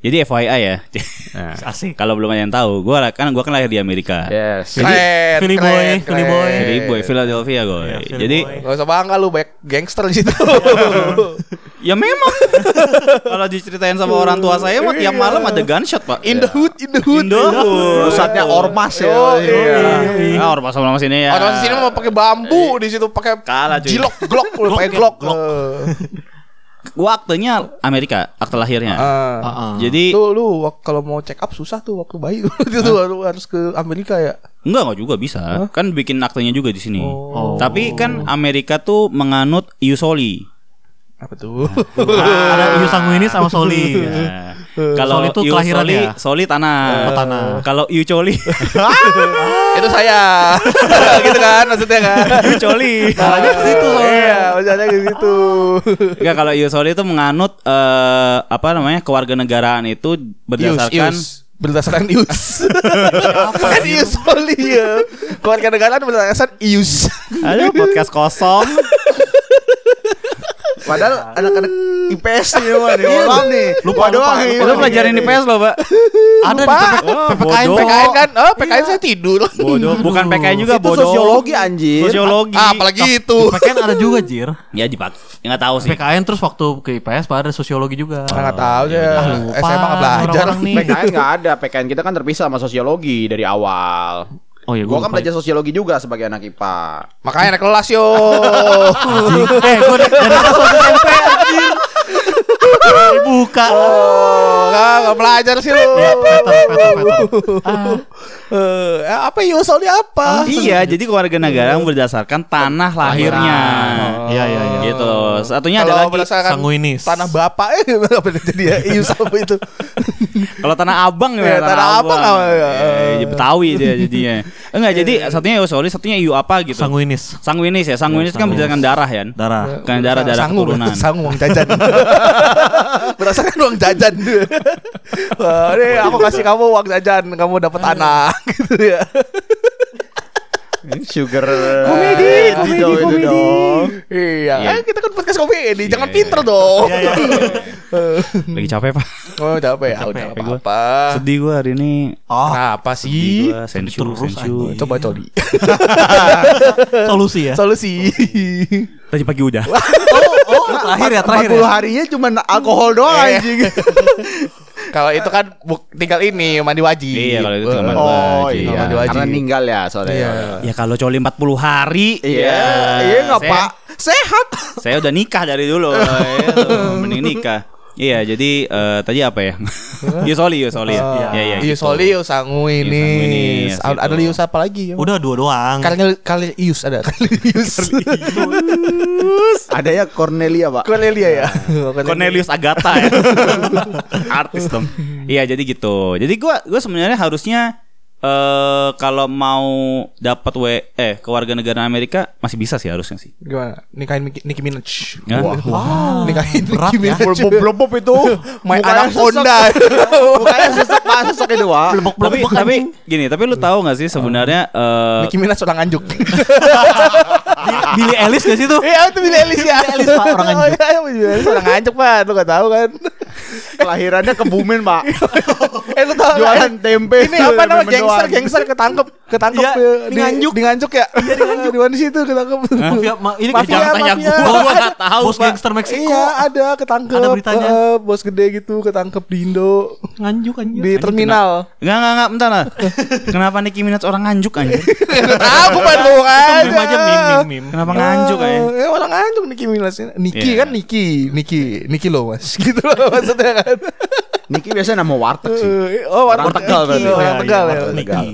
[SPEAKER 3] Jadi FYI ya.
[SPEAKER 4] Nah.
[SPEAKER 2] Asik.
[SPEAKER 3] Kalau belum ada yang tahu, gue kan gua kan lahir di Amerika.
[SPEAKER 4] Yes.
[SPEAKER 5] Keren,
[SPEAKER 2] Philly boy,
[SPEAKER 5] keren,
[SPEAKER 2] Philly
[SPEAKER 5] keren.
[SPEAKER 2] boy.
[SPEAKER 3] Jadi boy Philadelphia gue.
[SPEAKER 2] Iya, Philly
[SPEAKER 3] Jadi
[SPEAKER 2] boy.
[SPEAKER 5] Gak usah bangga lu banyak gangster di situ.
[SPEAKER 3] ya memang kalau diceritain sama orang tua saya mah tiap malam ada gunshot pak. Ya.
[SPEAKER 5] in the hood, in the hood.
[SPEAKER 3] Indo.
[SPEAKER 4] Pusatnya ormas ya.
[SPEAKER 5] Oh,
[SPEAKER 4] Iya.
[SPEAKER 3] Nah, ormas sama sini ya.
[SPEAKER 5] Orang sini mau pakai bambu, di situ pakai
[SPEAKER 3] Kalah, cuy.
[SPEAKER 5] jilok, glock, lu pakai glock.
[SPEAKER 3] Gua aktenya Amerika, akte lahirnya.
[SPEAKER 5] Eh,
[SPEAKER 2] Ah, ah.
[SPEAKER 3] Jadi
[SPEAKER 5] Tuh lu wak- kalau mau check up susah tuh waktu bayi tuh Itu lu harus ke Amerika ya.
[SPEAKER 3] enggak enggak juga bisa. Kan bikin aktenya juga di sini.
[SPEAKER 5] Oh.
[SPEAKER 3] Tapi kan Amerika tuh menganut iusoli.
[SPEAKER 5] Apa tuh?
[SPEAKER 2] Ah, ada Yu Sanguini sama Soli. Ya.
[SPEAKER 3] Nah, Kalau
[SPEAKER 2] Soli tuh
[SPEAKER 3] ius
[SPEAKER 2] kelahiran
[SPEAKER 3] soli,
[SPEAKER 2] ya?
[SPEAKER 3] soli tanah.
[SPEAKER 2] Oh, tanah.
[SPEAKER 3] Kalau iusoli,
[SPEAKER 5] Itu saya. gitu kan maksudnya kan.
[SPEAKER 3] iusoli.
[SPEAKER 5] Caranya ke situ Iya, maksudnya ke situ.
[SPEAKER 3] Enggak kalau iusoli itu menganut eh, apa namanya kewarganegaraan itu berdasarkan
[SPEAKER 5] Ius, ius. berdasarkan ius. kan ius soli ya. Keluarga negara berdasarkan ius.
[SPEAKER 3] Aduh podcast kosong.
[SPEAKER 4] Padahal anak-anak IPS nih, wah,
[SPEAKER 5] Iya,
[SPEAKER 4] nih, orang nih. Lupa doang. nih.
[SPEAKER 3] Lu pelajarin IPS loh, Pak.
[SPEAKER 2] Ada di
[SPEAKER 5] Lupa.
[SPEAKER 2] PPK
[SPEAKER 3] Oh,
[SPEAKER 2] PPKN,
[SPEAKER 3] bodoh.
[SPEAKER 5] PKN kan, oh PKN saya tidur.
[SPEAKER 3] Bodoh, bukan PKN juga
[SPEAKER 4] Itu
[SPEAKER 3] bodoh.
[SPEAKER 4] sosiologi anjir.
[SPEAKER 3] Sosiologi.
[SPEAKER 5] Ah, apalagi itu.
[SPEAKER 2] PKN ada juga, Jir.
[SPEAKER 3] Ya dipakai. Ya enggak tahu sih.
[SPEAKER 2] PKN terus waktu ke IPS pada ada sosiologi juga.
[SPEAKER 5] Enggak tahu ya.
[SPEAKER 2] Ah, lupa
[SPEAKER 5] SMA nggak belajar.
[SPEAKER 2] orang-orang nih.
[SPEAKER 4] PKN nggak ada, PKN kita kan terpisah sama sosiologi dari awal.
[SPEAKER 2] Oh iya,
[SPEAKER 4] Gua
[SPEAKER 2] gua
[SPEAKER 4] kan
[SPEAKER 2] lupa.
[SPEAKER 4] belajar sosiologi juga sebagai anak IPA.
[SPEAKER 5] Makanya naik kelas yo.
[SPEAKER 2] Anjing. Eh, gua dari dari kelas satu SMP anjir. Dibuka.
[SPEAKER 5] Oh, nggak nggak belajar sih lu.
[SPEAKER 2] Ya, peter, peter, peter.
[SPEAKER 5] Eh, apa ius soli apa?
[SPEAKER 3] Iya, jadi keluarga negara berdasarkan tanah lahirnya.
[SPEAKER 2] Iya, iya, iya.
[SPEAKER 3] Gitu loh. Satunya ada
[SPEAKER 5] Kalau
[SPEAKER 3] lagi
[SPEAKER 5] berdasarkan
[SPEAKER 2] sanguinis.
[SPEAKER 5] tanah bapak eh apa jadi ya ius apa itu?
[SPEAKER 3] kalau tanah abang
[SPEAKER 5] Iya, tanah abang apa, ya.
[SPEAKER 3] Eh, ya, Betawi dia jadinya. Enggak, jadi satunya iusoli, satunya iu apa gitu.
[SPEAKER 2] Sanguinis.
[SPEAKER 3] Sanguinis ya, sanguinis
[SPEAKER 2] Ya,
[SPEAKER 3] kan
[SPEAKER 2] sanguinis.
[SPEAKER 3] berdasarkan darah ya.
[SPEAKER 2] Darah.
[SPEAKER 3] Kan darah-darah
[SPEAKER 5] Sangu,
[SPEAKER 3] keturunan.
[SPEAKER 5] Sangu uang jajan. berdasarkan uang jajan. Wah, ini aku kasih kamu uang jajan, kamu dapat anak gitu ya.
[SPEAKER 4] Sugar
[SPEAKER 5] Komedi,
[SPEAKER 4] Eh,
[SPEAKER 5] komedi,
[SPEAKER 4] itu- itu
[SPEAKER 5] komedi.
[SPEAKER 4] dong.
[SPEAKER 5] Iya,
[SPEAKER 3] Iya.
[SPEAKER 5] eh, kita kan podcast komedi, jangan pinter dong.
[SPEAKER 2] Iya,
[SPEAKER 3] Lagi capek, Pak.
[SPEAKER 5] Oh, capek ya, udah
[SPEAKER 3] Iya. Capek gua.
[SPEAKER 5] apa-apa.
[SPEAKER 3] Sedih gua hari ini.
[SPEAKER 2] Oh,
[SPEAKER 5] Kenapa
[SPEAKER 3] Sedih
[SPEAKER 5] sih?
[SPEAKER 3] gua, sensu,
[SPEAKER 2] terus anjing.
[SPEAKER 3] sensu.
[SPEAKER 5] Coba coli.
[SPEAKER 2] solusi ya.
[SPEAKER 3] Iya.
[SPEAKER 5] Solusi.
[SPEAKER 3] Tadi pagi udah.
[SPEAKER 5] oh, oh,
[SPEAKER 2] Terakhir ya, terakhir
[SPEAKER 4] 40
[SPEAKER 2] ya.
[SPEAKER 4] harinya cuma alkohol doang
[SPEAKER 5] Iya.
[SPEAKER 4] anjing.
[SPEAKER 5] Kalau itu kan buk- tinggal ini mandi wajib.
[SPEAKER 3] Iya, kalau itu tinggal mandi
[SPEAKER 4] oh
[SPEAKER 3] wajib.
[SPEAKER 4] iya.
[SPEAKER 5] Mandi wajib.
[SPEAKER 4] Karena ninggal ya soalnya.
[SPEAKER 1] Iya.
[SPEAKER 3] Ya kalau coli 40 hari
[SPEAKER 4] Iya,
[SPEAKER 3] ya,
[SPEAKER 4] iya nggak
[SPEAKER 3] saya-
[SPEAKER 4] pak. Sehat.
[SPEAKER 3] Saya udah nikah dari dulu ya, tuh, Mending nikah Iya jadi eh, tadi apa ya Yosoli Yosoli ya Iya iya
[SPEAKER 5] Ius Solius, sangu
[SPEAKER 3] Iya, sangu ini,
[SPEAKER 5] ini.
[SPEAKER 3] ya,
[SPEAKER 5] Ada
[SPEAKER 3] situ.
[SPEAKER 5] Lius apa lagi? ya?
[SPEAKER 2] Udah dua doang.
[SPEAKER 5] Kali kali Ius ada. Cornelius.
[SPEAKER 4] Ada ya Cornelia pak.
[SPEAKER 5] Cornelia ya.
[SPEAKER 3] Iya. Cornelius Agatha ya. Artis dong. Iya, jadi gitu. Jadi gua gua sebenarnya harusnya eh kalau mau dapat W eh kewarganegaraan Amerika masih bisa sih harusnya sih.
[SPEAKER 1] Gimana? Nikahin Nicki, Nicki Minaj.
[SPEAKER 3] Ya.
[SPEAKER 1] Wow. Nikahin
[SPEAKER 2] Berat
[SPEAKER 1] Nicki
[SPEAKER 2] ya.
[SPEAKER 1] Minaj.
[SPEAKER 4] Blebop itu.
[SPEAKER 1] Main
[SPEAKER 4] Mukanya
[SPEAKER 1] anak
[SPEAKER 4] sesek.
[SPEAKER 1] Honda.
[SPEAKER 4] Mukanya sesek pak sesek itu pak.
[SPEAKER 3] Tapi tapi gini, tapi lu tahu nggak sih sebenarnya eh
[SPEAKER 1] Nicki Minaj orang anjuk.
[SPEAKER 2] Billy Ellis gak sih tuh?
[SPEAKER 5] Iya itu Billy Ellis ya.
[SPEAKER 2] Billy Ellis, Pak, orang anjuk.
[SPEAKER 5] Oh, iya, iya, Billy Ellis orang anjuk pak. Lu gak tahu kan?
[SPEAKER 4] Kelahirannya kebumen pak.
[SPEAKER 5] eh lu tahu nggak?
[SPEAKER 4] Jualan tempe.
[SPEAKER 5] Ini apa nama
[SPEAKER 4] Menu
[SPEAKER 5] gangster
[SPEAKER 4] doang.
[SPEAKER 5] gangster ketangkep ketangkep
[SPEAKER 2] Iya,
[SPEAKER 5] ya,
[SPEAKER 2] di Nganjuk.
[SPEAKER 5] di Nganjuk ya. Iya di Nganjuk. di mana sih itu ketangkep?
[SPEAKER 2] Mafia, ma- ini
[SPEAKER 5] Mafia,
[SPEAKER 2] jangan tanya
[SPEAKER 5] mafia.
[SPEAKER 2] gua, gua nggak tahu. Bos gangster Meksiko.
[SPEAKER 5] Iya ada ketangkep.
[SPEAKER 2] Ada beritanya.
[SPEAKER 5] Eh, bos gede gitu ketangkep di Indo
[SPEAKER 2] Nganjuk anjing.
[SPEAKER 5] di terminal.
[SPEAKER 3] Enggak, enggak, enggak, bentar lah. Kenapa Nicki Minaj orang nganjuk anjir?
[SPEAKER 5] Aku main bohong aja.
[SPEAKER 2] Meme aja meme meme, meme.
[SPEAKER 3] Kenapa nganjuk
[SPEAKER 5] ya?
[SPEAKER 3] aja?
[SPEAKER 5] Eh orang nganjuk Niki Minaj. Niki
[SPEAKER 3] Iya.
[SPEAKER 5] kan Niki, Niki, Niki loh mas. Gitu loh maksudnya kan.
[SPEAKER 4] Niki biasanya nama warteg sih.
[SPEAKER 5] Eh, Oh
[SPEAKER 4] Orang Tegal
[SPEAKER 5] Niki,
[SPEAKER 4] berarti.
[SPEAKER 5] Orang
[SPEAKER 2] Iya,
[SPEAKER 5] Tegal
[SPEAKER 2] iya,
[SPEAKER 5] ya.
[SPEAKER 2] orang
[SPEAKER 5] Warteg
[SPEAKER 4] Tegal.
[SPEAKER 5] Niki.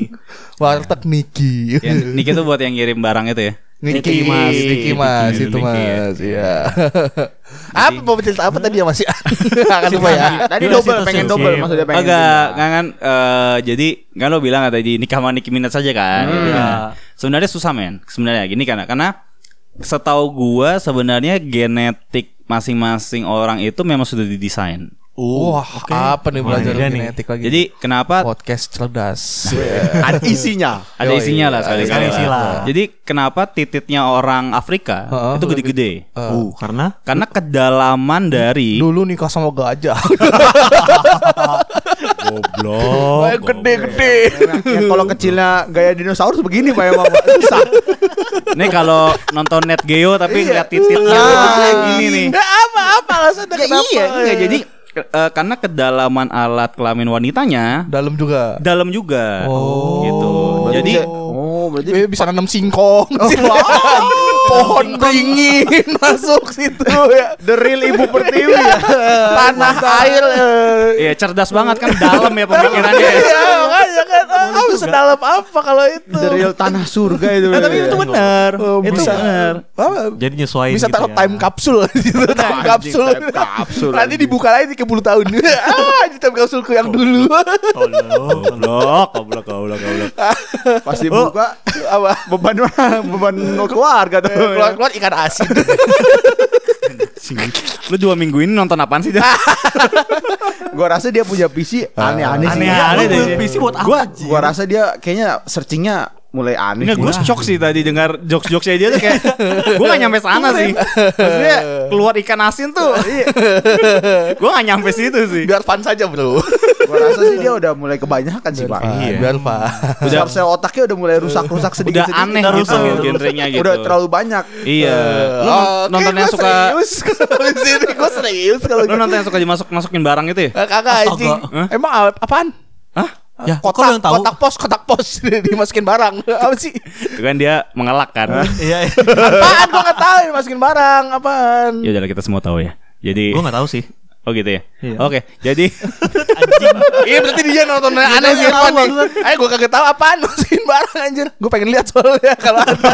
[SPEAKER 5] Warteg Niki.
[SPEAKER 3] Ya, Nicki tuh buat yang ngirim barang itu ya.
[SPEAKER 5] Niki
[SPEAKER 3] Niki,
[SPEAKER 5] mas, Niki
[SPEAKER 3] Niki,
[SPEAKER 5] mas,
[SPEAKER 3] Niki,
[SPEAKER 5] itu
[SPEAKER 3] Niki,
[SPEAKER 5] mas,
[SPEAKER 3] Iya.
[SPEAKER 5] ya. Apa mau cerita apa tadi ya mas ya? Akan lupa ya.
[SPEAKER 4] Ya, tadi
[SPEAKER 2] Durasi
[SPEAKER 4] double,
[SPEAKER 2] terus
[SPEAKER 4] pengen
[SPEAKER 2] ya.
[SPEAKER 4] double
[SPEAKER 2] Iya.
[SPEAKER 4] maksudnya pengen.
[SPEAKER 3] Agak
[SPEAKER 4] pindah.
[SPEAKER 3] kan kan eh, jadi kan lo bilang nggak tadi nikah sama Nicki Minaj saja kan. gitu kan.
[SPEAKER 2] Iya.
[SPEAKER 3] Sebenarnya susah men. Sebenarnya gini karena karena setahu gua sebenarnya genetik masing-masing orang itu memang sudah didesain.
[SPEAKER 2] Oh,
[SPEAKER 5] Wah, apa nih belajar
[SPEAKER 2] Wah, iya nih.
[SPEAKER 5] genetik lagi?
[SPEAKER 3] Jadi kenapa
[SPEAKER 5] podcast cerdas.
[SPEAKER 4] Ada isinya.
[SPEAKER 3] ada isinya lah sekali
[SPEAKER 2] Ada isi lah.
[SPEAKER 3] Jadi kenapa tititnya orang Afrika
[SPEAKER 1] Heeh.
[SPEAKER 3] itu gede-gede?
[SPEAKER 2] Uh, karena
[SPEAKER 3] Karena kedalaman dari
[SPEAKER 5] Eh, Dulu nikah sama gajah.
[SPEAKER 2] goblok.
[SPEAKER 5] Gede-gede.
[SPEAKER 4] Yang kalau kecilnya gaya dinosaurus begini pak emang Pak. susah.
[SPEAKER 3] Nih kalau nonton Net Geo tapi ngeliat tititnya
[SPEAKER 4] Ah.
[SPEAKER 3] kayak gini nih.
[SPEAKER 5] Apa-apa alasannya
[SPEAKER 3] Ya
[SPEAKER 5] kenapa?
[SPEAKER 3] iya, enggak jadi ke- eh, karena kedalaman alat kelamin wanitanya
[SPEAKER 5] Dalam juga.
[SPEAKER 3] dalam juga.
[SPEAKER 5] Oh.
[SPEAKER 3] Gitu. Jadi
[SPEAKER 4] oh berarti
[SPEAKER 5] Eh, bisa nanam singkong, pohon beringin masuk situ ya.
[SPEAKER 4] the real ibu pertiwi ya.
[SPEAKER 5] tanah air eh,
[SPEAKER 3] ya cerdas banget kan dalam ya pemikirannya.
[SPEAKER 5] Iya, makanya kan ah, sedalam apa kalau itu?
[SPEAKER 4] The real tanah surga itu. Iya.
[SPEAKER 3] Nah, tapi itu benar.
[SPEAKER 5] Oh,
[SPEAKER 3] itu
[SPEAKER 5] bisa.
[SPEAKER 3] benar.
[SPEAKER 5] Apa?
[SPEAKER 2] Jadi nyesuaiin
[SPEAKER 5] Bisa
[SPEAKER 2] gitu
[SPEAKER 5] taruh
[SPEAKER 2] ya.
[SPEAKER 5] time capsule gitu, time
[SPEAKER 4] Anjing,
[SPEAKER 5] capsule.
[SPEAKER 4] time capsule,
[SPEAKER 5] Nanti
[SPEAKER 4] anjing.
[SPEAKER 5] dibuka lagi 30 tahun. ah, di time capsule yang dulu.
[SPEAKER 2] Goblok, goblok, goblok, goblok.
[SPEAKER 4] Pasti buka apa Oh. beban beban keluarga tuh.
[SPEAKER 5] Keluar-keluar ikan asin.
[SPEAKER 3] Lu dua minggu ini nonton apaan sih? Jan?
[SPEAKER 4] Gua rasa dia punya PC aneh-aneh sih.
[SPEAKER 3] Aneh-aneh deh.
[SPEAKER 2] PC buat apa?
[SPEAKER 4] Gua
[SPEAKER 2] Ji?
[SPEAKER 4] gua rasa dia kayaknya searchingnya mulai aneh.
[SPEAKER 3] Enggak, gue shock sih tadi dengar jokes-jokesnya dia tuh kayak Gue gak nyampe sana sih Maksudnya keluar ikan asin tuh Gue gak nyampe situ sih
[SPEAKER 5] Biar fun saja, Bro.
[SPEAKER 4] Gua rasa sih dia udah mulai kebanyakan sih, Pak.
[SPEAKER 5] Iya. Biar fun.
[SPEAKER 4] Udah sel otaknya udah mulai rusak-rusak
[SPEAKER 3] Udah
[SPEAKER 4] sedikit-sedikit.
[SPEAKER 3] aneh
[SPEAKER 2] Udah
[SPEAKER 3] gitu
[SPEAKER 2] rusak.
[SPEAKER 3] genrenya gitu
[SPEAKER 4] Udah terlalu banyak.
[SPEAKER 3] Iya Lu
[SPEAKER 5] Eh, Oke,
[SPEAKER 3] non- nonton yang suka
[SPEAKER 5] gua serius kalau di sini gue serius kalau
[SPEAKER 3] Lu nonton yang suka dimasuk masukin barang itu ya?
[SPEAKER 5] Eh, kagak anjing.
[SPEAKER 3] Hah?
[SPEAKER 5] Emang a- apaan?
[SPEAKER 3] Hah?
[SPEAKER 2] Ya, kok lu
[SPEAKER 5] Kotak,
[SPEAKER 2] yang tahu?
[SPEAKER 5] kotak pos, kotak pos dimasukin barang. Apa sih?
[SPEAKER 3] Itu kan dia mengelak
[SPEAKER 5] Eh.
[SPEAKER 3] kan.
[SPEAKER 2] Iya, iya.
[SPEAKER 5] Apaan gua enggak tahu dimasukin barang, apaan?
[SPEAKER 3] ya udahlah kita semua tahu ya. Jadi
[SPEAKER 2] Gua enggak tahu sih.
[SPEAKER 3] oh gitu ya.
[SPEAKER 2] Iya.
[SPEAKER 3] Oke, jadi
[SPEAKER 5] Iya berarti dia nonton aneh sih Irfan nih. Ayo gue kaget tahu apaan masukin barang anjir. Gue pengen lihat soalnya kalau ada.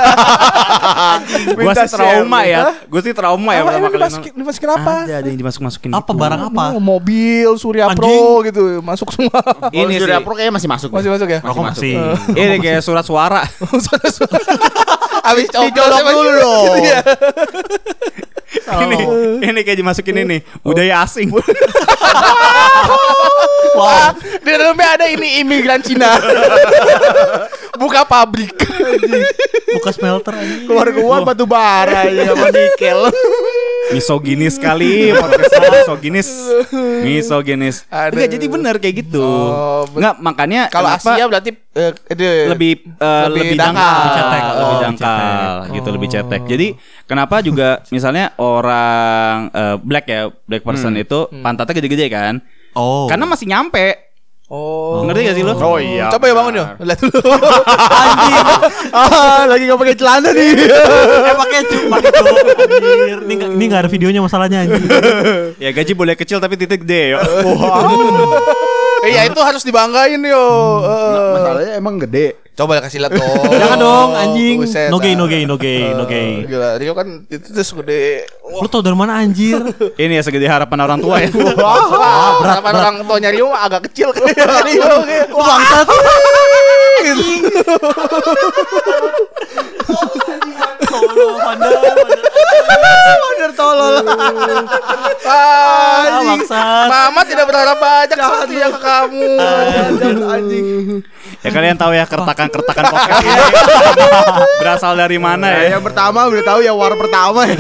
[SPEAKER 3] gua
[SPEAKER 5] Minta
[SPEAKER 3] sih trauma
[SPEAKER 5] share,
[SPEAKER 3] ya.
[SPEAKER 5] minta.
[SPEAKER 3] Gua sih trauma ya
[SPEAKER 5] Apa
[SPEAKER 3] pertama
[SPEAKER 5] ini
[SPEAKER 3] kali.
[SPEAKER 5] dimasukin, dimasukin apa?
[SPEAKER 3] nonton. Ada ada yang dimasuk-masukin.
[SPEAKER 2] Apa
[SPEAKER 3] gitu.
[SPEAKER 2] barang apa?
[SPEAKER 5] Oh, mobil Surya
[SPEAKER 2] Ah. Anjing.
[SPEAKER 5] Pro gitu masuk semua.
[SPEAKER 3] Ini sih.
[SPEAKER 4] Surya Pro kayaknya masih masuk.
[SPEAKER 5] Masih masuk ya?
[SPEAKER 2] Rokok masih.
[SPEAKER 3] Ini kayak surat suara.
[SPEAKER 5] Abis
[SPEAKER 4] Dicolok dulu dong.
[SPEAKER 5] Iya. Oh.
[SPEAKER 3] ini ini kayak dimasukin ini budaya asing.
[SPEAKER 5] Wah, di dalamnya ada ini imigran Cina. Buka pabrik.
[SPEAKER 2] Buka smelter aja.
[SPEAKER 4] Keluar keluar batu bara ya sama nikel.
[SPEAKER 3] misoginis sekali podcastnya misoginis misoginis enggak jadi bener kayak gitu
[SPEAKER 5] Oh,
[SPEAKER 3] enggak makanya
[SPEAKER 1] Kalau
[SPEAKER 3] kenapa
[SPEAKER 1] Asia berarti eh, eh,
[SPEAKER 3] lebih eh,
[SPEAKER 1] lebih
[SPEAKER 3] lebih,
[SPEAKER 1] dangkal.
[SPEAKER 3] dangkal, lebih cetek,
[SPEAKER 1] Oh,
[SPEAKER 3] lebih dangkal gitu, lebih cetek. Jadi kenapa juga misalnya orang eh, black ya, black person itu pantatnya gede-gede kan?
[SPEAKER 2] Oh.
[SPEAKER 3] Karena masih nyampe.
[SPEAKER 5] Oh.
[SPEAKER 3] Ngerti gak sih lo?
[SPEAKER 4] Oh iya.
[SPEAKER 5] Coba ya bangun yo. Lihat dulu.
[SPEAKER 4] Ah, lagi gak pakai celana nih.
[SPEAKER 2] Eh, pakai cuk, pakai cuk. Anjir, ini nggak- ini enggak ada videonya masalahnya anjir.
[SPEAKER 3] Ya gaji boleh kecil tapi titik gede yo.
[SPEAKER 5] Eh, ya itu harus dibanggain yo. Eh,
[SPEAKER 4] Masalahnya emang gede.
[SPEAKER 5] Coba kasih lihat dong.
[SPEAKER 2] Jangan dong anjing.
[SPEAKER 5] Oh, Buset,
[SPEAKER 2] No gay,
[SPEAKER 5] ah.
[SPEAKER 2] no gay, no gay, no gay.
[SPEAKER 5] Gila, Rio kan itu terus gede.
[SPEAKER 2] Lu
[SPEAKER 5] Wah,
[SPEAKER 2] tau dari mana anjir?
[SPEAKER 3] Ini ya segede harapan orang tua ya.
[SPEAKER 2] Ah,
[SPEAKER 1] harapan orang tuanya Rio agak kecil kan. Rio kayak, wah,
[SPEAKER 2] Bangsa tuh. Tolol, pandai,
[SPEAKER 4] Bener tolol.
[SPEAKER 2] Ah, pandai.
[SPEAKER 1] anjing.
[SPEAKER 2] Bangsa.
[SPEAKER 1] Mama tidak berharap banyak seperti yang ke kamu.
[SPEAKER 2] Ah.
[SPEAKER 3] ya kalian tahu ya kertakan-kertakan podcast ini berasal dari mana ya?
[SPEAKER 4] yang pertama udah tahu ya war pertama ya.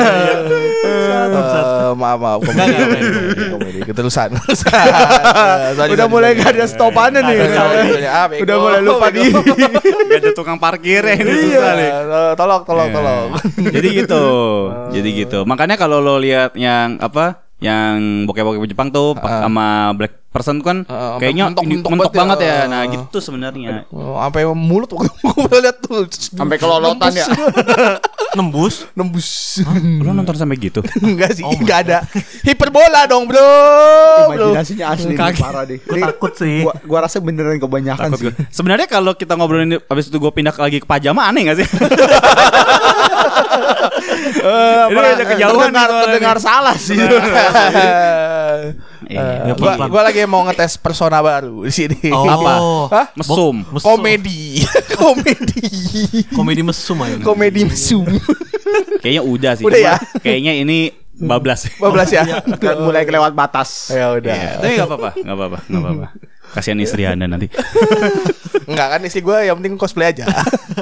[SPEAKER 5] eh, maaf maaf komedi komedi, komedi. keterusan
[SPEAKER 4] udah mulai gak ada stopannya nih.
[SPEAKER 5] Ah,
[SPEAKER 4] Udah mulai lupa di.
[SPEAKER 3] Gak ada tukang parkir ya ini susah nih.
[SPEAKER 5] Eh, tolong tolong
[SPEAKER 3] Ya.
[SPEAKER 5] tolong Oh.
[SPEAKER 3] Jadi gitu. Jadi gitu. Makanya kalau lo lihat yang apa? Yang bokeh-bokeh Jepang tuh pak- sama black person kan
[SPEAKER 5] Heeh,
[SPEAKER 3] kayaknya
[SPEAKER 5] mentok-
[SPEAKER 3] ini
[SPEAKER 5] mentok
[SPEAKER 3] mentok banget
[SPEAKER 5] banget ya.
[SPEAKER 3] ya. Nah, gitu sebenarnya.
[SPEAKER 5] Oh, sampai mulut waktu gue lihat tuh
[SPEAKER 1] Sampai kelolotan ya.
[SPEAKER 2] Nembus.
[SPEAKER 5] nembus
[SPEAKER 3] Lo
[SPEAKER 5] Hmm.
[SPEAKER 3] nonton sampai gitu.
[SPEAKER 4] Oh
[SPEAKER 5] enggak sih enggak ada hiperbola dong bro bro
[SPEAKER 4] Imajinasinya asli nih, parah deh.
[SPEAKER 2] Gue
[SPEAKER 4] Ini
[SPEAKER 2] takut sih.
[SPEAKER 4] Gua, gua rasa beneran kebanyakan
[SPEAKER 3] Takut
[SPEAKER 4] sih.
[SPEAKER 3] gue. Sebenarnya kalau kita ngobrolin ini, habis itu gue pindah lagi ke pajama aneh
[SPEAKER 5] Eh,
[SPEAKER 3] gak sih? Ini
[SPEAKER 4] Parah,
[SPEAKER 3] aja
[SPEAKER 4] eh,
[SPEAKER 3] kejauhan
[SPEAKER 4] terdengar,
[SPEAKER 3] soalnya.
[SPEAKER 4] terdengar salah sih.
[SPEAKER 3] Iya.
[SPEAKER 5] gua, gua lagi mau ngetes persona baru di sini
[SPEAKER 3] Apa?
[SPEAKER 4] Oh.
[SPEAKER 5] Hah?
[SPEAKER 3] Mesum.
[SPEAKER 2] Oh. Mesum.
[SPEAKER 5] komedi komedi
[SPEAKER 2] Komedi mesum aja.
[SPEAKER 5] komedi mesum
[SPEAKER 3] Kayaknya udah sih.
[SPEAKER 5] Udah
[SPEAKER 3] Cuma
[SPEAKER 5] ya?
[SPEAKER 3] Kayaknya ini bablas.
[SPEAKER 5] 15 ya
[SPEAKER 4] Kan mulai kelewat batas.
[SPEAKER 5] ya udah
[SPEAKER 3] Iya, tapi gak apa-apa, gak apa-apa, gak apa-apa. Kasihan istri Anda nanti.
[SPEAKER 5] Enggak kan istri gue yang penting cosplay aja.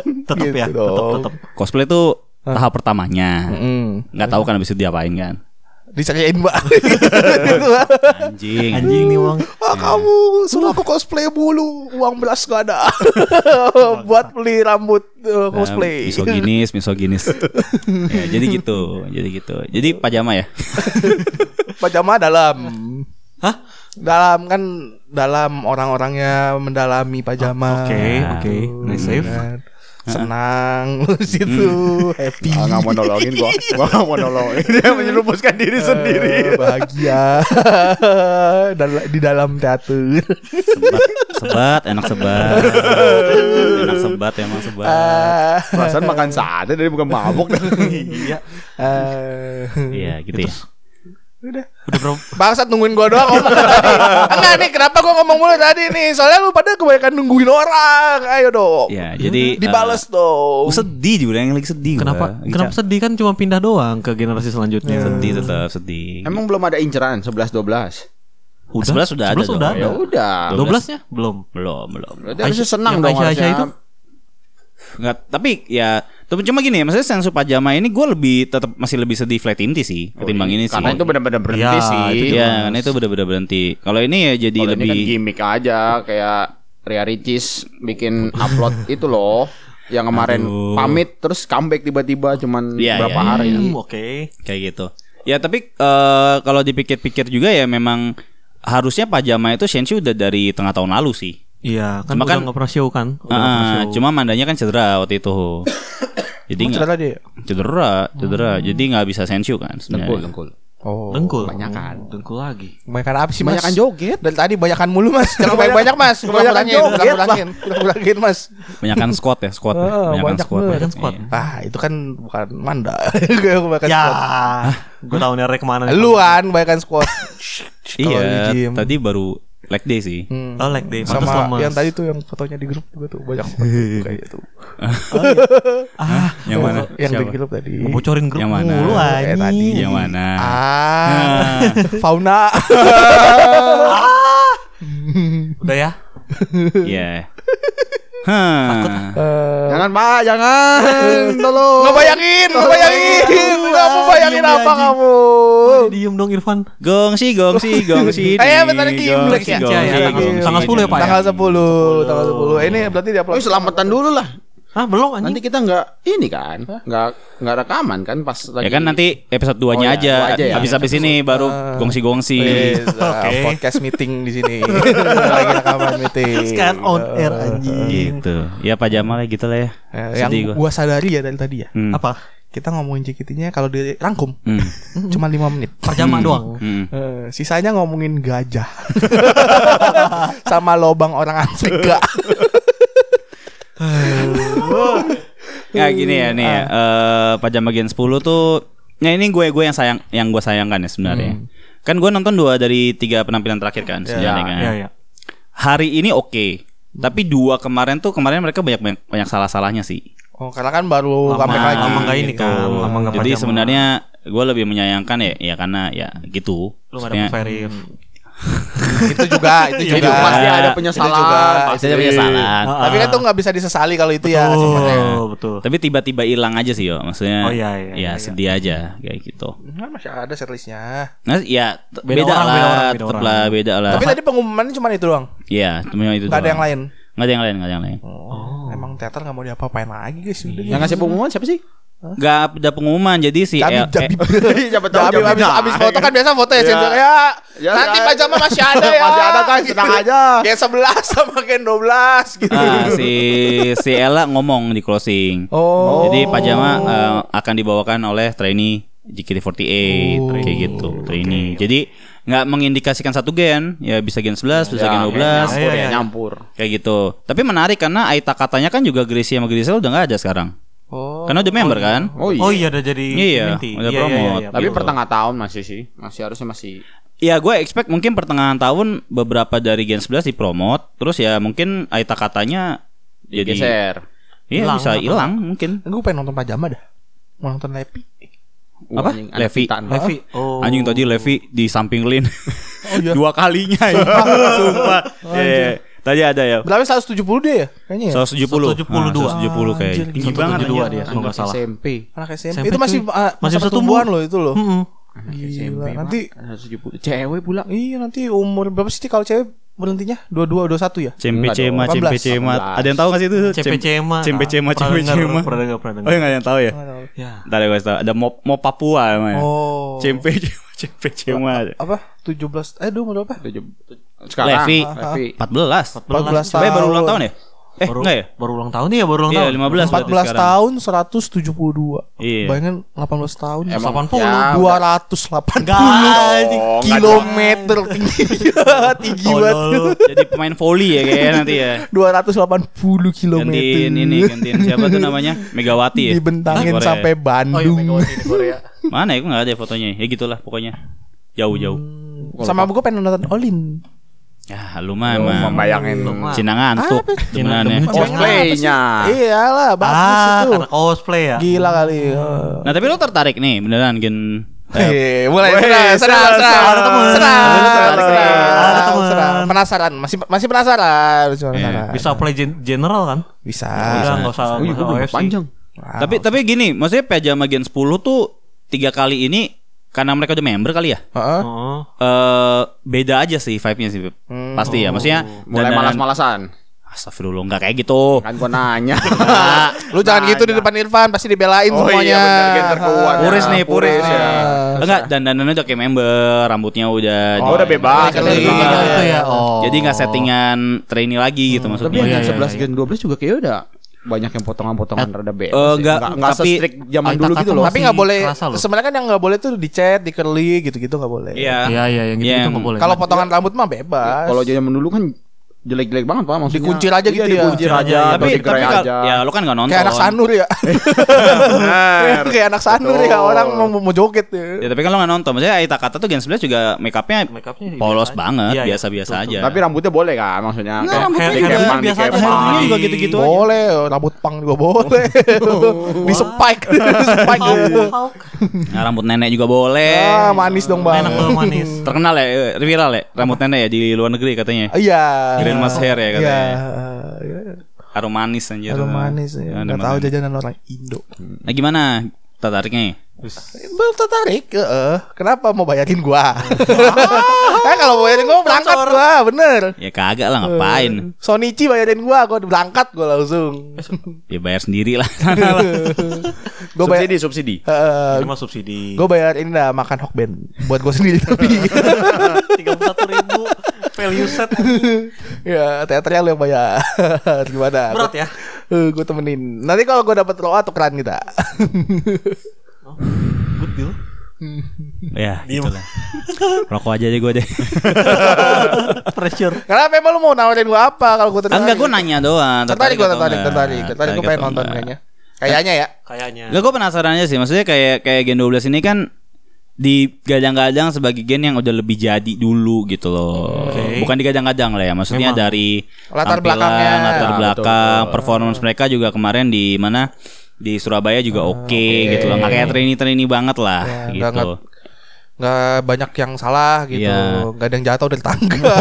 [SPEAKER 2] Tetep ya,
[SPEAKER 5] Gitu dong.
[SPEAKER 2] tetep, tetep.
[SPEAKER 3] Cosplay tuh tahap pertamanya.
[SPEAKER 5] Hmm.
[SPEAKER 3] Nggak tahu kan habis itu diapain kan.
[SPEAKER 5] Diceryain mbak
[SPEAKER 3] Anjing.
[SPEAKER 2] Anjing nih orang.
[SPEAKER 5] Ah, Kamu suruh aku cosplay bulu Uang belas gak ada Buat beli rambut eh,
[SPEAKER 3] Nah,
[SPEAKER 5] cosplay
[SPEAKER 3] Misoginis, misoginis. ya, jadi gitu, jadi gitu. Jadi pajama ya.
[SPEAKER 5] Pajama dalam
[SPEAKER 2] Hah?
[SPEAKER 5] Dalam kan Dalam orang-orangnya Mendalami pajama
[SPEAKER 2] Oke, oke. Nice save.
[SPEAKER 5] Kan. Senang situ Happy
[SPEAKER 4] Ah, nggak mau nolongin gua. Gua nggak mau nolongin. Dia menyerumuskan diri sendiri.
[SPEAKER 5] Eh, Bahagia Dal- Di dalam teater
[SPEAKER 3] Sebat, sebat, enak sebat. enak sebat emang sebat.
[SPEAKER 5] Ah,
[SPEAKER 4] Perasaan makan sate dari bukan mabuk.
[SPEAKER 2] Iya.
[SPEAKER 5] ah.
[SPEAKER 3] Iya, gitu ya.
[SPEAKER 2] Udah bro.
[SPEAKER 5] Bangsat nungguin gua doang ngomong tadi. Enggak nih, kenapa gua ngomong mulu tadi nih? Soalnya lu pada kebanyakan nungguin orang. Ayo dong.
[SPEAKER 3] Iya,
[SPEAKER 4] Hmm,
[SPEAKER 3] jadi eh,
[SPEAKER 5] Dibales dong.
[SPEAKER 3] gua sedih juga yang lagi sedih. gua.
[SPEAKER 2] Kenapa?
[SPEAKER 3] Lagi
[SPEAKER 2] Kenapa
[SPEAKER 3] ca-
[SPEAKER 2] sedih kan cuma pindah doang ke generasi selanjutnya.
[SPEAKER 3] sedih tetap sedih.
[SPEAKER 4] Emang belum ada inceran 11 12.
[SPEAKER 2] Udah.
[SPEAKER 3] Sebelas sudah ada
[SPEAKER 2] Sebelas
[SPEAKER 3] dong.
[SPEAKER 2] sudah
[SPEAKER 4] Ya
[SPEAKER 2] ada.
[SPEAKER 4] udah.
[SPEAKER 2] 12-nya belum.
[SPEAKER 3] belum, belum.
[SPEAKER 4] Berarti harusnya
[SPEAKER 2] Aisyah-
[SPEAKER 4] senang
[SPEAKER 2] yang
[SPEAKER 4] dong
[SPEAKER 2] Aisyah-
[SPEAKER 4] harusnya.
[SPEAKER 2] Aisyah itu?
[SPEAKER 3] Nggak, tapi ya tapi cuma gini ya, maksudnya sensu pajama ini gua lebih tetap masih lebih sedih flat inti sih ketimbang ini sih.
[SPEAKER 4] Oh, iya. Karena itu benar-benar berhenti
[SPEAKER 2] Iya,
[SPEAKER 4] sih.
[SPEAKER 2] itu
[SPEAKER 3] Iya, karena itu benar-benar berhenti. Kalau ini ya jadi
[SPEAKER 4] Kalau ini
[SPEAKER 3] lebih
[SPEAKER 4] kan gimmick aja kayak Ria Ricis bikin upload itu loh yang kemarin
[SPEAKER 3] Aduh.
[SPEAKER 4] pamit terus comeback tiba-tiba cuman
[SPEAKER 3] Iya,
[SPEAKER 4] berapa
[SPEAKER 3] iya,
[SPEAKER 4] hari.
[SPEAKER 2] Hmm, Oke.
[SPEAKER 3] kayak gitu. Ya tapi eh, kalau dipikir-pikir juga ya memang harusnya pajama itu Shensi udah dari tengah tahun lalu sih.
[SPEAKER 2] Iya, kan udah
[SPEAKER 3] Cuma kan-
[SPEAKER 2] nggak pernah show kan? Udah nggak pernah
[SPEAKER 3] Ah,
[SPEAKER 2] show.
[SPEAKER 3] cuma mandanya kan cedera waktu itu. Jadi nggak
[SPEAKER 5] tadi.
[SPEAKER 3] cedera, cedera. Jadi nggak bisa Senshu kan sebenarnya.
[SPEAKER 4] Dengkul.
[SPEAKER 5] Oh.
[SPEAKER 2] dengkul.
[SPEAKER 4] Banyakan.
[SPEAKER 2] Dengkul lagi.
[SPEAKER 5] Kebanyakan apa sih, Mas?
[SPEAKER 4] Banyakan joget.
[SPEAKER 5] Dari tadi banyakan mulu, Mas. Jangan banyak-banyak, Mas. Kurang
[SPEAKER 4] Kebanyakan
[SPEAKER 5] kurangin, kurang
[SPEAKER 4] joget,
[SPEAKER 5] kurangin, kurang kurangin, Mas.
[SPEAKER 3] Banyakan squat ya, squat. ya.
[SPEAKER 5] Oh,
[SPEAKER 3] Banyakan
[SPEAKER 5] banyak
[SPEAKER 3] squat.
[SPEAKER 5] banget.
[SPEAKER 2] Banyakan squat.
[SPEAKER 3] Iya.
[SPEAKER 5] Ah, itu kan bukan manda. Gue kebanyakan
[SPEAKER 2] Ya.
[SPEAKER 5] squat.
[SPEAKER 2] Gue tahu nerek kemana. nih.
[SPEAKER 5] Lu kan kebanyakan squat. Kalau di
[SPEAKER 3] Iya,
[SPEAKER 5] gym.
[SPEAKER 3] tadi baru leg day sih.
[SPEAKER 5] Hmm.
[SPEAKER 2] Oh, leg day.
[SPEAKER 5] Sama
[SPEAKER 2] Pantes lemes.
[SPEAKER 5] yang tadi tuh yang fotonya di grup juga tuh banyak banget tuh, kayak gitu.
[SPEAKER 2] Ah,
[SPEAKER 3] Iya, Yang mana?
[SPEAKER 5] Yang di
[SPEAKER 3] Siapa?
[SPEAKER 5] grup tadi.
[SPEAKER 2] bocorin grup
[SPEAKER 3] Yang mana?
[SPEAKER 2] mulu
[SPEAKER 5] Eh, tadi.
[SPEAKER 2] anjing.
[SPEAKER 3] Yang mana?
[SPEAKER 5] Ah,
[SPEAKER 3] Nah.
[SPEAKER 5] fauna.
[SPEAKER 2] Udah ya.
[SPEAKER 3] Iya. Hah.
[SPEAKER 2] Eh.
[SPEAKER 4] Jangan pak, jangan. Tolong.
[SPEAKER 1] Nggak bayangin, nggak
[SPEAKER 3] Iya,
[SPEAKER 1] bayangin, nggak mau bayangin
[SPEAKER 2] Diem
[SPEAKER 1] apa
[SPEAKER 2] aja.
[SPEAKER 1] kamu.
[SPEAKER 2] Oh, diem dong Irfan.
[SPEAKER 3] Gongsi, gongsi, gongsi.
[SPEAKER 1] Eh, bentar lagi.
[SPEAKER 3] Gongsi,
[SPEAKER 2] Iya,
[SPEAKER 3] gongsi,
[SPEAKER 2] iya,
[SPEAKER 3] gongsi,
[SPEAKER 2] tanggal- tanggal
[SPEAKER 3] gongsi.
[SPEAKER 2] 10 ya, Pak, ya?
[SPEAKER 5] Tanggal 10, tanggal 10. Ini berarti dia
[SPEAKER 3] Iya.
[SPEAKER 4] Oh, selamatan dulu lah.
[SPEAKER 2] Ah belum anjing.
[SPEAKER 4] Nanti kita nggak ini kan, nggak nggak rekaman kan pas lagi.
[SPEAKER 3] Ya kan nanti episode 2-nya
[SPEAKER 4] Oh, ya,
[SPEAKER 3] aja.
[SPEAKER 4] dua aja ya.
[SPEAKER 3] Habis-habis ini baru gongsi-gongsi.
[SPEAKER 5] Oh, iya, Oke. uh, Podcast meeting di sini. Lagi rekaman meeting.
[SPEAKER 2] Kan Sekarang on air
[SPEAKER 5] Hmm.
[SPEAKER 2] anjing.
[SPEAKER 3] Gitu. Ya Pak Jamal ya gitu lah ya.
[SPEAKER 5] Eh, yang
[SPEAKER 3] Sedih gua.
[SPEAKER 5] gua sadari ya dari tadi ya.
[SPEAKER 3] Hmm.
[SPEAKER 2] Apa?
[SPEAKER 5] Kita ngomongin JKT-nya kalau dirangkum
[SPEAKER 3] Hmm.
[SPEAKER 5] cuma 5 menit.
[SPEAKER 2] Perjama doang.
[SPEAKER 3] Hmm.
[SPEAKER 5] Eh, sisanya ngomongin gajah. Sama lobang orang Afrika.
[SPEAKER 3] Ya gini ya nih ya. Eh, Pajam bagian 10 tuh Ya ini gue gue yang sayang yang gue sayangkan ya sebenarnya. Kan gue nonton dua dari tiga penampilan terakhir kan sebenarnya kan.
[SPEAKER 2] Ya ya.
[SPEAKER 3] Hari ini oke. Tapi dua kemarin tuh kemarin mereka banyak banyak, banyak salah-salahnya sih.
[SPEAKER 5] Oh, karena kan baru
[SPEAKER 2] Lama-
[SPEAKER 5] comeback lagi.
[SPEAKER 2] lama nggak ini kan, lama nggak
[SPEAKER 3] Jadi
[SPEAKER 2] Pajama.
[SPEAKER 3] sebenarnya gue lebih menyayangkan ya ya karena ya gitu.
[SPEAKER 2] Lu gak
[SPEAKER 3] Maksudnya-
[SPEAKER 2] dapet Ferif.
[SPEAKER 5] itu juga, itu
[SPEAKER 3] Iya,
[SPEAKER 4] Jadi
[SPEAKER 5] juga.
[SPEAKER 4] pasti ada
[SPEAKER 5] juga.
[SPEAKER 4] penyesalan.
[SPEAKER 3] Pasti ada
[SPEAKER 2] Iya.
[SPEAKER 3] penyesalan.
[SPEAKER 5] Tapi kan tuh nggak bisa disesali kalau itu ya. sebenarnya.
[SPEAKER 2] Betul, betul.
[SPEAKER 3] Tapi tiba-tiba hilang aja sih yo, maksudnya.
[SPEAKER 2] Oh, iya, iya,
[SPEAKER 3] ya
[SPEAKER 2] iya,
[SPEAKER 3] sedih aja kayak gitu.
[SPEAKER 5] Nah, masih ada setlistnya.
[SPEAKER 3] Nah, ya t- beda,
[SPEAKER 2] Beda orang,
[SPEAKER 3] lah,
[SPEAKER 2] beda orang, beda
[SPEAKER 3] tetep
[SPEAKER 2] orang.
[SPEAKER 3] lah beda lah.
[SPEAKER 5] Tapi tadi pengumumannya cuma itu doang.
[SPEAKER 3] Iya, cuma itu.
[SPEAKER 5] Gak ada
[SPEAKER 3] doang.
[SPEAKER 5] yang lain.
[SPEAKER 3] Nggak ada yang lain, nggak ada yang lain.
[SPEAKER 5] Oh. Emang teater nggak mau diapa-apain lagi guys.
[SPEAKER 3] Iya.
[SPEAKER 5] Udah.
[SPEAKER 4] Yang ngasih pengumuman siapa sih?
[SPEAKER 3] Nggak ada pengumuman, jadi si
[SPEAKER 5] Jabi,
[SPEAKER 3] L-
[SPEAKER 5] jabi.
[SPEAKER 3] eh,
[SPEAKER 4] Siapa tahu
[SPEAKER 5] Abis,
[SPEAKER 4] Jamin
[SPEAKER 5] abis,
[SPEAKER 4] dah.
[SPEAKER 5] abis foto kan biasa foto
[SPEAKER 4] Ya.
[SPEAKER 5] ya, Sim. ya.
[SPEAKER 4] Ya,
[SPEAKER 5] nanti
[SPEAKER 4] ya.
[SPEAKER 5] Pak Jamal masih ada ya.
[SPEAKER 4] Masih ada, guys, tenang aja.
[SPEAKER 5] Kayak 11 sama kayak 12 gitu.
[SPEAKER 3] ah, si si Ella ngomong di closing.
[SPEAKER 5] Oh.
[SPEAKER 3] Jadi pajama eh, akan dibawakan oleh trainee JKT48 kayak gitu, trainee. Jadi nggak mengindikasikan satu gen, ya bisa gen 11, bisa gen 12.
[SPEAKER 4] Nyampur
[SPEAKER 2] Iya,
[SPEAKER 4] ya,
[SPEAKER 2] iya.
[SPEAKER 4] nyampur.
[SPEAKER 3] Kayak gitu. Tapi menarik karena Aita katanya kan juga Gracie sama Grisel udah nggak ada sekarang.
[SPEAKER 5] Oh.
[SPEAKER 3] Karena udah member kan?
[SPEAKER 4] Oh iya.
[SPEAKER 2] Oh iya udah jadi
[SPEAKER 3] Iya,
[SPEAKER 2] community.
[SPEAKER 3] udah promote.
[SPEAKER 4] Tapi
[SPEAKER 3] Gitu.
[SPEAKER 4] pertengah tahun masih sih, masih harusnya masih.
[SPEAKER 3] Ya gue expect mungkin pertengahan tahun beberapa dari Gen 11 dipromot, terus ya mungkin Aita katanya jadi
[SPEAKER 4] Geser.
[SPEAKER 3] Iya
[SPEAKER 2] Hilang
[SPEAKER 3] bisa
[SPEAKER 2] atau-
[SPEAKER 3] hilang mungkin.
[SPEAKER 5] Gue pengen nonton Pak Jamal dah. Mau nonton Lepi.
[SPEAKER 3] Apa? Levi.
[SPEAKER 2] Levi. Oh.
[SPEAKER 3] Anjing tadi Levi di samping Lin
[SPEAKER 5] iya.
[SPEAKER 3] dua kalinya ya. Sumpah. Iya. Tadi ada ya.
[SPEAKER 5] Berapa 170 dia ya? Kayaknya ya.
[SPEAKER 3] 170.
[SPEAKER 2] 172.
[SPEAKER 3] Ah, 170 kayak.
[SPEAKER 5] Anjir,
[SPEAKER 3] Tinggi banget
[SPEAKER 2] dua
[SPEAKER 3] anjir.
[SPEAKER 2] dia kalau nggak salah.
[SPEAKER 4] SMP.
[SPEAKER 5] Anak SMP.
[SPEAKER 2] SMP
[SPEAKER 5] Itu masih Hmm.
[SPEAKER 2] cuy.
[SPEAKER 5] ah,
[SPEAKER 2] Masih
[SPEAKER 5] masa
[SPEAKER 2] bisa
[SPEAKER 5] pertumbuhan
[SPEAKER 2] tumbuh.
[SPEAKER 5] loh itu loh.
[SPEAKER 2] Mm-mm.
[SPEAKER 5] Gila. Nanti
[SPEAKER 4] Nanti 170. Cewek pula.
[SPEAKER 5] iya nanti umur berapa sih kalau cewek berhentinya? 22 21 ya?
[SPEAKER 3] Cempe
[SPEAKER 4] Enggak
[SPEAKER 3] cema,
[SPEAKER 5] dong,
[SPEAKER 3] cempe
[SPEAKER 5] 18.
[SPEAKER 3] cema. Ada yang tahu gak sih itu?
[SPEAKER 2] CPC mah.
[SPEAKER 3] Cempe cema,
[SPEAKER 2] Pernah
[SPEAKER 3] cempe cema.
[SPEAKER 2] denger, Pernah denger, pernah
[SPEAKER 3] Oh,
[SPEAKER 2] denger.
[SPEAKER 3] yang gak ada yang tahu ya?
[SPEAKER 2] Ya.
[SPEAKER 3] Entar ya gue kasih tahu. Ada mau mau Papua namanya.
[SPEAKER 5] Oh.
[SPEAKER 3] Cempe cema, cempe cema.
[SPEAKER 5] Apa? 17 eh dulu berapa?
[SPEAKER 4] Sekarang.
[SPEAKER 3] Levi.
[SPEAKER 4] Levi.
[SPEAKER 3] 14.
[SPEAKER 5] 14
[SPEAKER 3] Tapi baru ulang tahun ya? Eh,
[SPEAKER 2] Baru,
[SPEAKER 3] enggak ya?
[SPEAKER 2] baru ulang tahun nih ya, baru ulang
[SPEAKER 3] Iya,
[SPEAKER 2] tahun.
[SPEAKER 3] 15 berarti
[SPEAKER 5] 14
[SPEAKER 3] sekarang.
[SPEAKER 5] tahun 172.
[SPEAKER 3] Iya.
[SPEAKER 5] Bayangin 18 tahun
[SPEAKER 4] Emang
[SPEAKER 2] 80.
[SPEAKER 4] ya, udah.
[SPEAKER 5] 280
[SPEAKER 2] Enggak, anjing.
[SPEAKER 5] kilometer tinggi. tinggi banget.
[SPEAKER 2] Oh, Tolol.
[SPEAKER 3] Jadi pemain volley ya kayaknya nanti ya.
[SPEAKER 5] 280 kilometer.
[SPEAKER 3] Gantiin ini, gantiin siapa tuh namanya? Megawati ya.
[SPEAKER 5] Dibentangin
[SPEAKER 3] Korea.
[SPEAKER 2] Oh
[SPEAKER 5] sampai
[SPEAKER 2] iya,
[SPEAKER 5] Bandung.
[SPEAKER 2] Megawati di Korea.
[SPEAKER 3] Mana ya? Gue nggak ada fotonya. Ya gitulah pokoknya. Jauh-jauh.
[SPEAKER 5] Sama gue pengen nonton Olin.
[SPEAKER 3] Ya lu mah emang.
[SPEAKER 4] Bayangin.
[SPEAKER 3] Cina ngantuk.
[SPEAKER 5] Apa?
[SPEAKER 3] Cina ya.
[SPEAKER 2] Cina.
[SPEAKER 4] Cosplaynya.
[SPEAKER 5] Iyalah, bagus
[SPEAKER 2] Ah,
[SPEAKER 5] itu.
[SPEAKER 2] karena cosplay ya.
[SPEAKER 5] Gila kali. eh.
[SPEAKER 3] Nah tapi lu tertarik nih beneran gen. eh,
[SPEAKER 2] ya.
[SPEAKER 5] Eh, mulai
[SPEAKER 4] Weh,
[SPEAKER 5] serang, serang,
[SPEAKER 4] serang,
[SPEAKER 5] serang,
[SPEAKER 2] ada teman. Ada teman.
[SPEAKER 5] serang, serang,
[SPEAKER 2] Ada
[SPEAKER 5] serang,
[SPEAKER 2] teman. Eh,
[SPEAKER 5] serang. Penasaran, masih masih penasaran, masih penasaran.
[SPEAKER 2] Bisa play gen- general kan?
[SPEAKER 5] Ah, bisa.
[SPEAKER 2] Udah enggak usah
[SPEAKER 4] Oh iya,
[SPEAKER 2] nggak
[SPEAKER 4] gua
[SPEAKER 2] usah
[SPEAKER 4] udah
[SPEAKER 2] OFC.
[SPEAKER 4] panjang.
[SPEAKER 5] Wow.
[SPEAKER 3] Tapi tapi gini, maksudnya pajama gen 10 tuh tiga kali ini karena mereka udah member kali ya.
[SPEAKER 5] Heeh.
[SPEAKER 2] Heeh.
[SPEAKER 3] Eh beda aja sih vibe-nya sih. Beb. Pasti ya, maksudnya
[SPEAKER 4] Oh. Mulai
[SPEAKER 3] dandanan-
[SPEAKER 4] malas-malasan.
[SPEAKER 3] Astagfirullah enggak kayak gitu.
[SPEAKER 4] Kan gua nanya.
[SPEAKER 5] Lu
[SPEAKER 2] Nah,
[SPEAKER 5] jangan gitu di depan Irfan, pasti dibelain
[SPEAKER 4] Oh
[SPEAKER 5] semuanya.
[SPEAKER 4] iya benar gender kuat.
[SPEAKER 3] Puris nih, puris.
[SPEAKER 4] Puris, ya.
[SPEAKER 2] Iya.
[SPEAKER 3] Enggak, dandanannya udah kayak member, rambutnya udah
[SPEAKER 4] Oh, udah bebas.
[SPEAKER 5] Iya,
[SPEAKER 4] udah
[SPEAKER 5] iya,
[SPEAKER 4] bebas.
[SPEAKER 5] iya.
[SPEAKER 2] Gitu ya. Oh.
[SPEAKER 3] Jadi nggak settingan trainee lagi gitu
[SPEAKER 4] Tapi
[SPEAKER 3] maksudnya.
[SPEAKER 4] yang
[SPEAKER 2] Iya,
[SPEAKER 4] gen
[SPEAKER 2] iya,
[SPEAKER 4] 11
[SPEAKER 2] iya.
[SPEAKER 4] gen 12 juga kayaknya udah banyak yang potongan-potongan rada
[SPEAKER 3] eh,
[SPEAKER 4] bebas. sih.
[SPEAKER 3] enggak,
[SPEAKER 4] enggak
[SPEAKER 3] tapi-
[SPEAKER 4] se-strict zaman
[SPEAKER 2] Aitaka
[SPEAKER 4] dulu gitu
[SPEAKER 2] tuh
[SPEAKER 4] loh.
[SPEAKER 5] Tapi nggak
[SPEAKER 2] Masih
[SPEAKER 5] boleh.
[SPEAKER 2] kerasa loh.
[SPEAKER 5] Sebenarnya kan yang nggak boleh tuh di chat, di curly gitu-gitu nggak boleh.
[SPEAKER 3] Iya.
[SPEAKER 2] Iya, iya, yang gitu
[SPEAKER 3] Yang-
[SPEAKER 2] itu enggak boleh.
[SPEAKER 5] Kalau potongan rambut mah bebas.
[SPEAKER 4] Kalau zaman dulu kan jelek-jelek banget Pak maksudnya.
[SPEAKER 5] Dikuncir aja gitu ya.
[SPEAKER 4] Dikuncir aja,
[SPEAKER 3] Iya, tapi
[SPEAKER 4] dikuncir
[SPEAKER 3] tapi kal-
[SPEAKER 4] aja.
[SPEAKER 3] ya lu kan nggak nonton.
[SPEAKER 5] kayak anak sanur ya. Kayak- kayak anak sanur ya orang mau mau joget
[SPEAKER 3] Ya
[SPEAKER 5] ya.
[SPEAKER 3] tapi kan lo nggak nonton. Maksudnya Aita Kata tuh Gen 11 juga make upnya
[SPEAKER 2] Make up-nya ya
[SPEAKER 3] polos
[SPEAKER 2] biasa aja.
[SPEAKER 3] banget,
[SPEAKER 2] Iya, iya.
[SPEAKER 3] biasa-biasa aja.
[SPEAKER 4] Tapi rambutnya boleh kan maksudnya.
[SPEAKER 3] Nggak,
[SPEAKER 4] Kayak
[SPEAKER 3] rambutnya
[SPEAKER 4] di
[SPEAKER 3] juga
[SPEAKER 4] kepang, di
[SPEAKER 2] biasa aja.
[SPEAKER 4] kepang.
[SPEAKER 3] Handlingnya Iya,
[SPEAKER 5] iya.
[SPEAKER 3] juga gitu-gitu aja.
[SPEAKER 5] boleh, rambut pang juga boleh. di spike, di spike. ya.
[SPEAKER 3] Nah, rambut nenek juga boleh.
[SPEAKER 5] Ah, manis dong, Bang.
[SPEAKER 2] Enak tuh manis.
[SPEAKER 3] Terkenal ya, eh, viral ya rambut nenek ya di luar negeri katanya.
[SPEAKER 5] Iya.
[SPEAKER 3] Grandma's hair ya katanya.
[SPEAKER 5] Iya.
[SPEAKER 3] Arum manis anjir.
[SPEAKER 5] Arum manis ya.
[SPEAKER 3] Arum
[SPEAKER 5] Nggak tahu
[SPEAKER 3] manis.
[SPEAKER 5] jajanan orang Indo.
[SPEAKER 3] Nah, gimana? Tertariknya?
[SPEAKER 5] Belum tertarik. heeh. Kenapa mau bayarin gua? Eh kalau bayarin gua berangkat gua, bener.
[SPEAKER 3] Ya kagak lah ngapain.
[SPEAKER 5] Sonichi bayarin gua, gua berangkat gua langsung.
[SPEAKER 3] Ya bayar sendiri lah. Sana lah.
[SPEAKER 5] Gua bayar
[SPEAKER 4] subsidi subsidi
[SPEAKER 5] Heeh.
[SPEAKER 2] Ini mah subsidi.
[SPEAKER 5] Gue bayar ini dah makan hokben buat gue sendiri tapi
[SPEAKER 2] Tiga puluh satu ribu value set
[SPEAKER 5] ya teaternya lu yang bayar gimana?
[SPEAKER 2] berat ya.
[SPEAKER 5] gue temenin. Nanti kalau gue dapet roa tukeran kita.
[SPEAKER 2] Good deal.
[SPEAKER 3] ya,
[SPEAKER 2] Diem.
[SPEAKER 3] gitulah. Rokok aja deh gue deh.
[SPEAKER 2] Pressure.
[SPEAKER 5] Karena memang lu mau nawarin gue apa kalau gue
[SPEAKER 3] Ah,
[SPEAKER 5] tertarik? gitu.
[SPEAKER 3] Enggak gue nanya doang.
[SPEAKER 5] Tertarik gue
[SPEAKER 3] atau
[SPEAKER 5] tertarik
[SPEAKER 3] enggak?
[SPEAKER 5] tertarik tertarik gue
[SPEAKER 3] Tertarik
[SPEAKER 5] pengen
[SPEAKER 3] atau
[SPEAKER 5] nonton
[SPEAKER 3] enggak?
[SPEAKER 5] kayaknya. Kayaknya ya.
[SPEAKER 2] Kayaknya.
[SPEAKER 3] Lah gue penasaran aja sih Maksudnya kayak kayak Gen 12 ini kan Digadang-gadang sebagai gen yang udah lebih jadi dulu gitu loh
[SPEAKER 2] Oke.
[SPEAKER 3] Bukan digadang-gadang lah ya Maksudnya
[SPEAKER 2] Memang.
[SPEAKER 3] dari
[SPEAKER 5] Latar
[SPEAKER 3] tampilan,
[SPEAKER 5] belakangnya.
[SPEAKER 3] Latar
[SPEAKER 4] Ah,
[SPEAKER 3] belakang
[SPEAKER 4] betul.
[SPEAKER 3] Performance mereka juga kemarin di mana Di Surabaya juga oke gitu loh Gak kayak trainee-trainee banget lah
[SPEAKER 5] Ya,
[SPEAKER 3] gitu
[SPEAKER 5] nggak Nggak banyak yang salah gitu.
[SPEAKER 3] Iya.
[SPEAKER 5] Nggak ada yang jatuh dari tangga.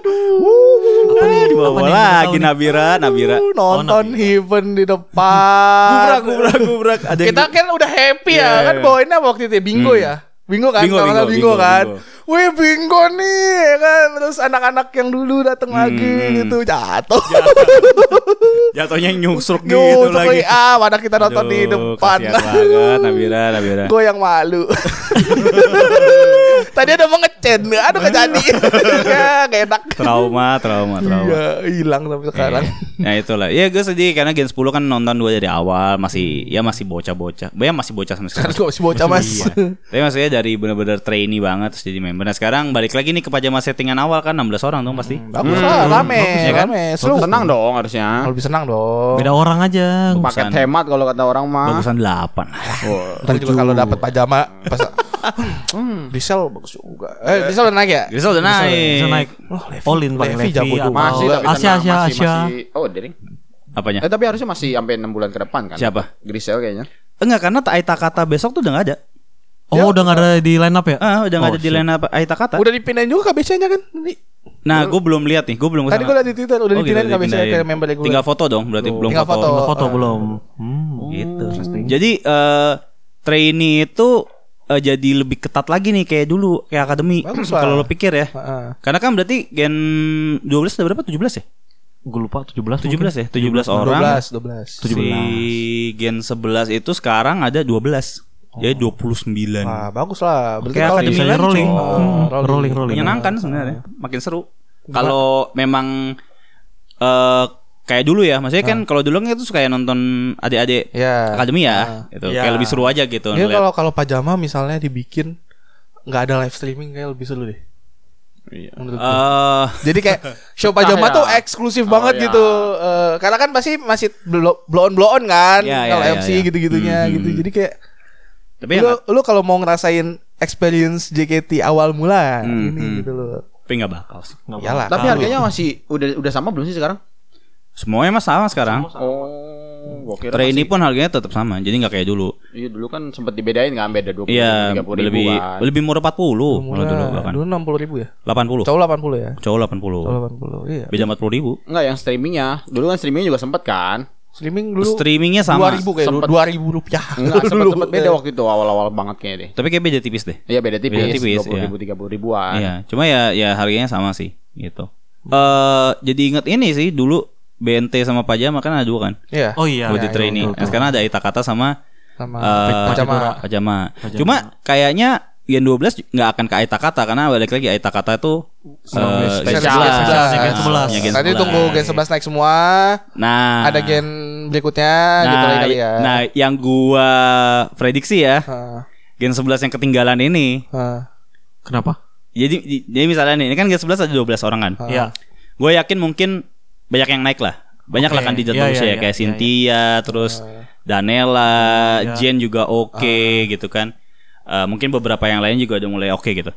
[SPEAKER 2] Apa nih?
[SPEAKER 3] Di
[SPEAKER 2] Apa
[SPEAKER 3] bawah
[SPEAKER 2] nih?
[SPEAKER 3] lagi
[SPEAKER 2] Nggak tahu nih.
[SPEAKER 3] Nabira Nabira
[SPEAKER 5] nonton
[SPEAKER 2] Nabila.
[SPEAKER 5] event di depan.
[SPEAKER 3] gubrak gubrak ada yang
[SPEAKER 5] kita kan udah happy
[SPEAKER 3] Iya.
[SPEAKER 5] ya kan bawainnya waktu itu ya, bingo
[SPEAKER 3] Hmm.
[SPEAKER 5] ya bingo kan
[SPEAKER 3] Bingo,
[SPEAKER 5] bingo, bingo,
[SPEAKER 3] bingo, bingo,
[SPEAKER 5] kan wih bingo nih ya kan terus anak-anak yang dulu datang lagi
[SPEAKER 3] Hmm.
[SPEAKER 5] gitu jatuh
[SPEAKER 3] jatuhnya nyusruk gitu
[SPEAKER 5] Duh, tuh
[SPEAKER 3] lagi
[SPEAKER 5] kayak, ah mana kita nonton di
[SPEAKER 3] Aduh,
[SPEAKER 5] depan
[SPEAKER 3] kasihan banget Nabira Nabira
[SPEAKER 5] gue yang malu tadi ada mau ngecen aduh gak jadi ya gak enak
[SPEAKER 3] Trauma Trauma Trauma
[SPEAKER 5] Iya, hilang sampai sekarang
[SPEAKER 3] Nah itulah Ya gue sedih Karena Gen 10 kan nonton dua dari awal Masih Ya masih bocah-bocah Ya masih bocah sama sekarang
[SPEAKER 5] Karena gue Kan masih bocah mas
[SPEAKER 3] Tapi maksudnya dari bener-bener trainee banget Terus jadi member Nah sekarang balik lagi nih ke pajama settingan awal kan 16 orang dong pasti
[SPEAKER 5] Hmm, Bagus
[SPEAKER 4] Hmm,
[SPEAKER 5] lah, rame,
[SPEAKER 3] ya kan?
[SPEAKER 5] rame Seru
[SPEAKER 4] iya senang dong harusnya
[SPEAKER 5] Lebih senang dong
[SPEAKER 2] Beda orang aja.
[SPEAKER 3] Bagus.
[SPEAKER 4] paket
[SPEAKER 3] Bagusan.
[SPEAKER 4] hemat kalau kata orang mah
[SPEAKER 3] Bagusan 8
[SPEAKER 5] Ah,
[SPEAKER 4] Oh.
[SPEAKER 5] Ntar juga kalau dapat pajama pas hmm, diesel bagus juga. Eh, diesel udah naik ya?
[SPEAKER 3] Grisel udah
[SPEAKER 2] Bisa naik.
[SPEAKER 3] naik
[SPEAKER 2] All in Pak
[SPEAKER 5] Levi
[SPEAKER 2] Levi.
[SPEAKER 5] jago
[SPEAKER 2] atau
[SPEAKER 5] juga.
[SPEAKER 4] masih
[SPEAKER 2] Asia
[SPEAKER 4] tapi tenang,
[SPEAKER 2] Asia
[SPEAKER 4] masih,
[SPEAKER 2] Asia.
[SPEAKER 4] masih- oh dering
[SPEAKER 3] Apanya?
[SPEAKER 4] eh tapi harusnya masih sampai 6 bulan ke depan kan
[SPEAKER 3] Ya. Siapa?
[SPEAKER 4] Grisel kayaknya
[SPEAKER 3] Enggak karena Aita Kata besok tuh udah gak ada
[SPEAKER 2] Oh udah nggak ada di line up ya?
[SPEAKER 3] Ah, udah nggak
[SPEAKER 2] Oh,
[SPEAKER 3] ada di
[SPEAKER 2] shit.
[SPEAKER 3] line up Aita Kata
[SPEAKER 5] Udah dipindahin juga KBC-nya kan? Tadi,
[SPEAKER 3] Nah gue belum lihat nih Gue belum
[SPEAKER 5] tadi
[SPEAKER 3] kesana.
[SPEAKER 5] gue liat di Twitter
[SPEAKER 3] Oh,
[SPEAKER 5] udah
[SPEAKER 3] gitu,
[SPEAKER 5] dipindahin KBC-nya ke
[SPEAKER 3] dipindahin.
[SPEAKER 5] member gue.
[SPEAKER 3] Tinggal foto dong Berarti belum
[SPEAKER 5] Tinggal
[SPEAKER 3] foto
[SPEAKER 5] foto.
[SPEAKER 2] Belum foto
[SPEAKER 5] Eh,
[SPEAKER 2] belum. Hmm.
[SPEAKER 3] gitu. Jadi eh trainee itu eh, jadi lebih ketat lagi nih kayak dulu kayak akademi.
[SPEAKER 5] Bagus lah.
[SPEAKER 3] Kalau lo pikir ya.
[SPEAKER 5] Heeh.
[SPEAKER 3] Karena kan berarti gen 12 ada berapa? 17 ya?
[SPEAKER 2] Gue lupa 17 mungkin.
[SPEAKER 3] 17 ya? 17 orang.
[SPEAKER 5] 12, 12.
[SPEAKER 3] 17. Si gen 11 itu sekarang ada 12. Jadi 29.
[SPEAKER 5] Oh. Wah, bagus lah. Berarti
[SPEAKER 3] Kayak
[SPEAKER 5] kalau
[SPEAKER 3] akademi
[SPEAKER 5] bisa-
[SPEAKER 2] Bisa
[SPEAKER 3] lagi,
[SPEAKER 2] rolling.
[SPEAKER 3] Cok.
[SPEAKER 2] Hmm,
[SPEAKER 5] Rolling.
[SPEAKER 2] Rolling rolling.
[SPEAKER 3] Menyenangkan sebenarnya, makin seru. Kalau memang eh kayak dulu ya, maksudnya
[SPEAKER 5] Ah.
[SPEAKER 3] kan kalau dulu kan itu suka ya nonton adik-adik
[SPEAKER 5] Ya.
[SPEAKER 3] akademi ya, gitu.
[SPEAKER 2] Ya.
[SPEAKER 3] Kayak lebih seru aja gitu
[SPEAKER 5] Ini
[SPEAKER 3] ngeliat.
[SPEAKER 5] Iya, kalau kalau pajama misalnya dibikin nggak ada live streaming kayak lebih seru deh.
[SPEAKER 4] Iya.
[SPEAKER 5] Menurut gua.
[SPEAKER 3] Eh,
[SPEAKER 5] Jadi kayak show
[SPEAKER 3] Ah,
[SPEAKER 5] pajama
[SPEAKER 4] ya.
[SPEAKER 5] tuh eksklusif
[SPEAKER 4] Oh,
[SPEAKER 5] banget
[SPEAKER 4] ya.
[SPEAKER 5] gitu. Eh, karena kan pasti masih blow blow on blow on kan
[SPEAKER 3] Ya, ya,
[SPEAKER 5] kalau
[SPEAKER 3] ya,
[SPEAKER 5] MC
[SPEAKER 3] ya.
[SPEAKER 5] gitu-gitunya
[SPEAKER 3] Hmm.
[SPEAKER 5] gitu. Jadi kayak
[SPEAKER 3] tapi ya
[SPEAKER 5] lu lu kalau mau ngerasain experience JKT awal mula
[SPEAKER 3] Hmm,
[SPEAKER 5] ini
[SPEAKER 3] hmm.
[SPEAKER 5] gitu loh.
[SPEAKER 3] Tapi nggak bakal sih.
[SPEAKER 5] Iyalah.
[SPEAKER 4] tapi
[SPEAKER 5] Tahu.
[SPEAKER 4] harganya masih udah udah sama belum sih sekarang
[SPEAKER 3] Semuanya mah sama sekarang.
[SPEAKER 4] oh gua kira
[SPEAKER 3] Trainee pun harganya tetap sama, jadi nggak kayak dulu.
[SPEAKER 4] masih- iya dulu kan sempat dibedain kan beda 20
[SPEAKER 3] Iya,
[SPEAKER 4] 30 ribu
[SPEAKER 3] lebih
[SPEAKER 4] kan.
[SPEAKER 3] lebih murah 40 kalau dulu bahkan.
[SPEAKER 5] dulu 60 ribu ya.
[SPEAKER 3] 80.
[SPEAKER 5] Cowok 80 ya.
[SPEAKER 3] Cowok
[SPEAKER 5] Cowok
[SPEAKER 3] 80.
[SPEAKER 5] 80. Iya.
[SPEAKER 3] Beda 40 ribu.
[SPEAKER 4] Enggak yang streamingnya Dulu kan streamingnya juga sempet kan
[SPEAKER 5] Streaming dulu
[SPEAKER 3] Streamingnya sama.
[SPEAKER 5] 2000 kayak dulu,
[SPEAKER 4] Sempet.
[SPEAKER 5] 2000 rupiah.
[SPEAKER 4] Enggak
[SPEAKER 5] Dulu.
[SPEAKER 4] sempet-sempet beda waktu itu Awal-awal banget kayaknya deh
[SPEAKER 3] Tapi kayak beda tipis deh.
[SPEAKER 4] Iya beda tipis,
[SPEAKER 3] Beda tipis,
[SPEAKER 4] 20 ribu, 30 ribuan
[SPEAKER 3] Iya, cuma ya ya harganya sama sih gitu. Eh jadi inget ini sih dulu BNT sama Pajama kan ada dua kan.
[SPEAKER 5] Iya.
[SPEAKER 2] Oh iya.
[SPEAKER 3] buat di
[SPEAKER 2] iya,
[SPEAKER 3] trainee.
[SPEAKER 2] betul,
[SPEAKER 3] Nah, sekarang ada Itakata sama
[SPEAKER 5] Sama
[SPEAKER 3] eh,
[SPEAKER 5] pajama.
[SPEAKER 3] Pajama. Cuma kayaknya Gen 12 nggak akan ke Itakata karena balik lagi Itakata itu eh,
[SPEAKER 5] Gen
[SPEAKER 3] Gen
[SPEAKER 2] Spesialnya
[SPEAKER 3] 11.
[SPEAKER 2] Gen 11.
[SPEAKER 3] Punya Iya, Gen
[SPEAKER 5] Nanti
[SPEAKER 3] 11.
[SPEAKER 5] tunggu gen 11 naik semua.
[SPEAKER 3] Nah,
[SPEAKER 5] Ada gen berikutnya gitu lagi kali ya.
[SPEAKER 3] nah, yang gua prediksi ya,
[SPEAKER 5] Heeh.
[SPEAKER 3] Gen 11 yang ketinggalan ini.
[SPEAKER 5] Heeh.
[SPEAKER 2] Kenapa?
[SPEAKER 3] Jadi di- jadi misalnya nih, ini kan Gen 11 ada 12 orang kan.
[SPEAKER 2] Iya.
[SPEAKER 3] Gue yakin mungkin banyak yang naik lah. Banyak lah
[SPEAKER 2] Oke,
[SPEAKER 3] kandidat
[SPEAKER 2] iya,
[SPEAKER 3] bagus
[SPEAKER 2] iya,
[SPEAKER 3] ya
[SPEAKER 2] iya,
[SPEAKER 3] kayak
[SPEAKER 2] iya,
[SPEAKER 3] Cynthia, terus Danela,
[SPEAKER 2] iya. Ah.
[SPEAKER 3] Jen juga oke gitu kan. Eh, mungkin beberapa yang lain juga udah mulai oke gitu.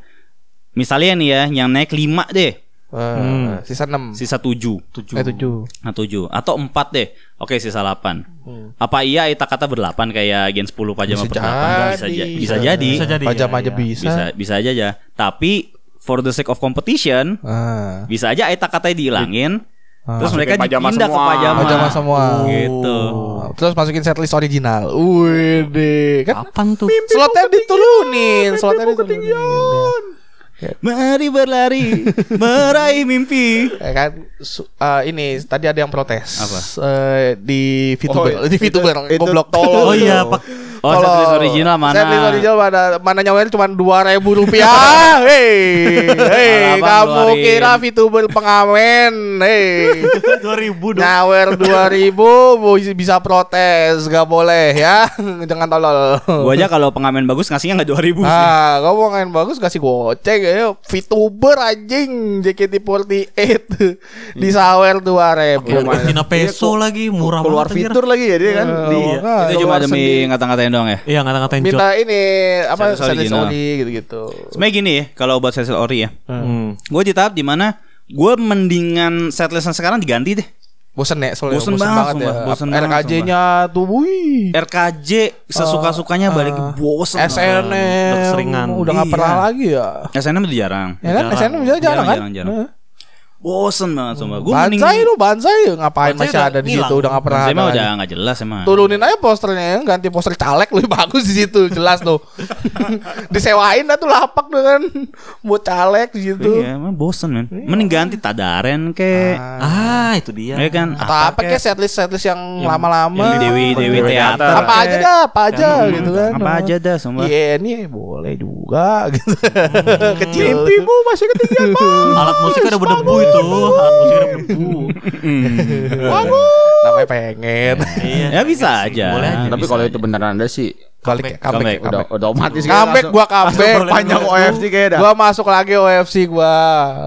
[SPEAKER 3] Misalnya nih ya, yang naik 5 deh,
[SPEAKER 5] Eh,
[SPEAKER 2] Hmm.
[SPEAKER 5] sisa 6.
[SPEAKER 3] sisa 7.
[SPEAKER 5] Eh 7.
[SPEAKER 3] Nah, 7 atau 4 deh. Oke, sisa 8.
[SPEAKER 2] Hmm.
[SPEAKER 3] Apa iya Ita kata berdelapan kayak Gen 10 pajama
[SPEAKER 5] Bisa
[SPEAKER 3] berdelapan Nggak, bisa,
[SPEAKER 5] jadi.
[SPEAKER 3] ja- bisa jadi.
[SPEAKER 2] Bisa jadi.
[SPEAKER 5] Pajama
[SPEAKER 2] ya,
[SPEAKER 5] aja
[SPEAKER 2] ya.
[SPEAKER 5] bisa.
[SPEAKER 3] Bisa bisa aja ya. Tapi for the sake of competition,
[SPEAKER 5] Ah.
[SPEAKER 3] bisa aja Ita katanya dihilangin. Terus
[SPEAKER 4] Masukin
[SPEAKER 3] mereka
[SPEAKER 4] pajama
[SPEAKER 3] dipindah ke
[SPEAKER 4] semua. Oh.
[SPEAKER 3] pajama.
[SPEAKER 5] Pajama semua.
[SPEAKER 3] Gitu.
[SPEAKER 5] Terus masukin setlist original. Wede. Kan
[SPEAKER 2] Kapan tuh?
[SPEAKER 5] slotnya ditulunin, slotnya ditulunin.
[SPEAKER 3] Mari berlari meraih mimpi.
[SPEAKER 5] Ya kan su- eh, ini tadi ada yang protes.
[SPEAKER 3] Apa?
[SPEAKER 5] Eh, di VTuber, di VTuber
[SPEAKER 4] itu
[SPEAKER 5] goblok.
[SPEAKER 4] tolol.
[SPEAKER 2] Oh iya, Pak.
[SPEAKER 3] Oh,
[SPEAKER 5] Kalau
[SPEAKER 3] setlist original mana?
[SPEAKER 5] Setlist original mana? Mana nyawanya cuma dua ribu rupiah. Hei,
[SPEAKER 3] Malah
[SPEAKER 5] hei,
[SPEAKER 3] abang
[SPEAKER 5] kamu
[SPEAKER 3] ngeluarin.
[SPEAKER 5] kira VTuber pengamen? Hei,
[SPEAKER 2] 2000 dong.
[SPEAKER 5] nyawer dua ribu bisa protes, gak boleh ya? Jangan tolol.
[SPEAKER 3] Gua aja kalau pengamen bagus ngasihnya enggak 2000 sih.
[SPEAKER 5] Ah, kamu mau main bagus kasih goceng ya. VTuber anjing
[SPEAKER 3] Hmm.
[SPEAKER 5] JKT48 di sawer 2000.
[SPEAKER 4] Iya, mana?
[SPEAKER 2] Cina peso lagi murah
[SPEAKER 4] keluar
[SPEAKER 2] banget, anjir.
[SPEAKER 4] fitur lagi ya dia kan.
[SPEAKER 5] Iya.
[SPEAKER 3] Itu cuma demi ngata-ngatain doang ya.
[SPEAKER 2] Iya ngata-ngatain jok.
[SPEAKER 5] minta ini apa
[SPEAKER 3] Setlist
[SPEAKER 5] setlist
[SPEAKER 3] original.
[SPEAKER 5] oli gitu-gitu.
[SPEAKER 3] Sebenarnya gini ya, kalau buat Cecil Ori ya.
[SPEAKER 2] Hmm.
[SPEAKER 3] Gue di tahap dimana gue mendingan setlist yang sekarang diganti deh.
[SPEAKER 5] bosen ya soalnya
[SPEAKER 3] Bosen banget, sumpah. Bosen banget,
[SPEAKER 5] RKJ-nya tuh wih
[SPEAKER 3] RKJ
[SPEAKER 5] Ah.
[SPEAKER 3] sesuka-sukanya balik bosen.
[SPEAKER 5] SNM
[SPEAKER 2] udah keseringan.
[SPEAKER 5] udah nggak
[SPEAKER 3] Iya.
[SPEAKER 5] pernah lagi ya
[SPEAKER 3] SNM udah jarang.
[SPEAKER 5] ya kan
[SPEAKER 2] Jarang.
[SPEAKER 5] SNM juga jarang kan
[SPEAKER 3] Jarang, jarang, jarang. Bosen banget sumpah. Gue
[SPEAKER 5] Banzai lu Banzai ngapain
[SPEAKER 2] Banzai
[SPEAKER 5] masih
[SPEAKER 2] udah
[SPEAKER 5] ada di
[SPEAKER 2] ngilang.
[SPEAKER 5] situ udah nggak pernah
[SPEAKER 3] Saya
[SPEAKER 5] ada
[SPEAKER 3] mah
[SPEAKER 5] lagi.
[SPEAKER 3] udah nggak jelas emang.
[SPEAKER 5] turunin aja posternya ganti poster caleg lebih bagus di situ jelas tuh disewain dah tuh lapak dengan buat caleg di situ
[SPEAKER 3] Iya, emang bosen men. Mending ganti tadaren ke.
[SPEAKER 2] Ah, itu dia.
[SPEAKER 3] Ya kan.
[SPEAKER 5] atau Ah, apa kayak setlist setlist yang
[SPEAKER 3] yang
[SPEAKER 5] lama-lama
[SPEAKER 3] Dewi Dewi teater.
[SPEAKER 5] apa aja
[SPEAKER 3] kek.
[SPEAKER 5] dah apa aja gitu kan
[SPEAKER 3] Apa aja dah semua.
[SPEAKER 5] Iya ini boleh juga gitu. Kecil.
[SPEAKER 4] masih ketinggian
[SPEAKER 2] Alat musik udah berdebu itu. Alat musik udah berdebu.
[SPEAKER 5] Namanya pengen.
[SPEAKER 2] Iya.
[SPEAKER 3] Ya bisa aja.
[SPEAKER 2] Boleh aja.
[SPEAKER 4] Tapi
[SPEAKER 2] bisa
[SPEAKER 4] kalau
[SPEAKER 2] aja.
[SPEAKER 4] itu beneran ada sih
[SPEAKER 3] Comeback.
[SPEAKER 5] Balik comeback. Iya,
[SPEAKER 4] udah udah otomatis kayak
[SPEAKER 5] Comeback
[SPEAKER 4] langsung-
[SPEAKER 5] gua comeback.
[SPEAKER 2] boleh.
[SPEAKER 4] panjang
[SPEAKER 2] Boleh.
[SPEAKER 4] OFC kayak dah.
[SPEAKER 5] Gua masuk lagi OFC gua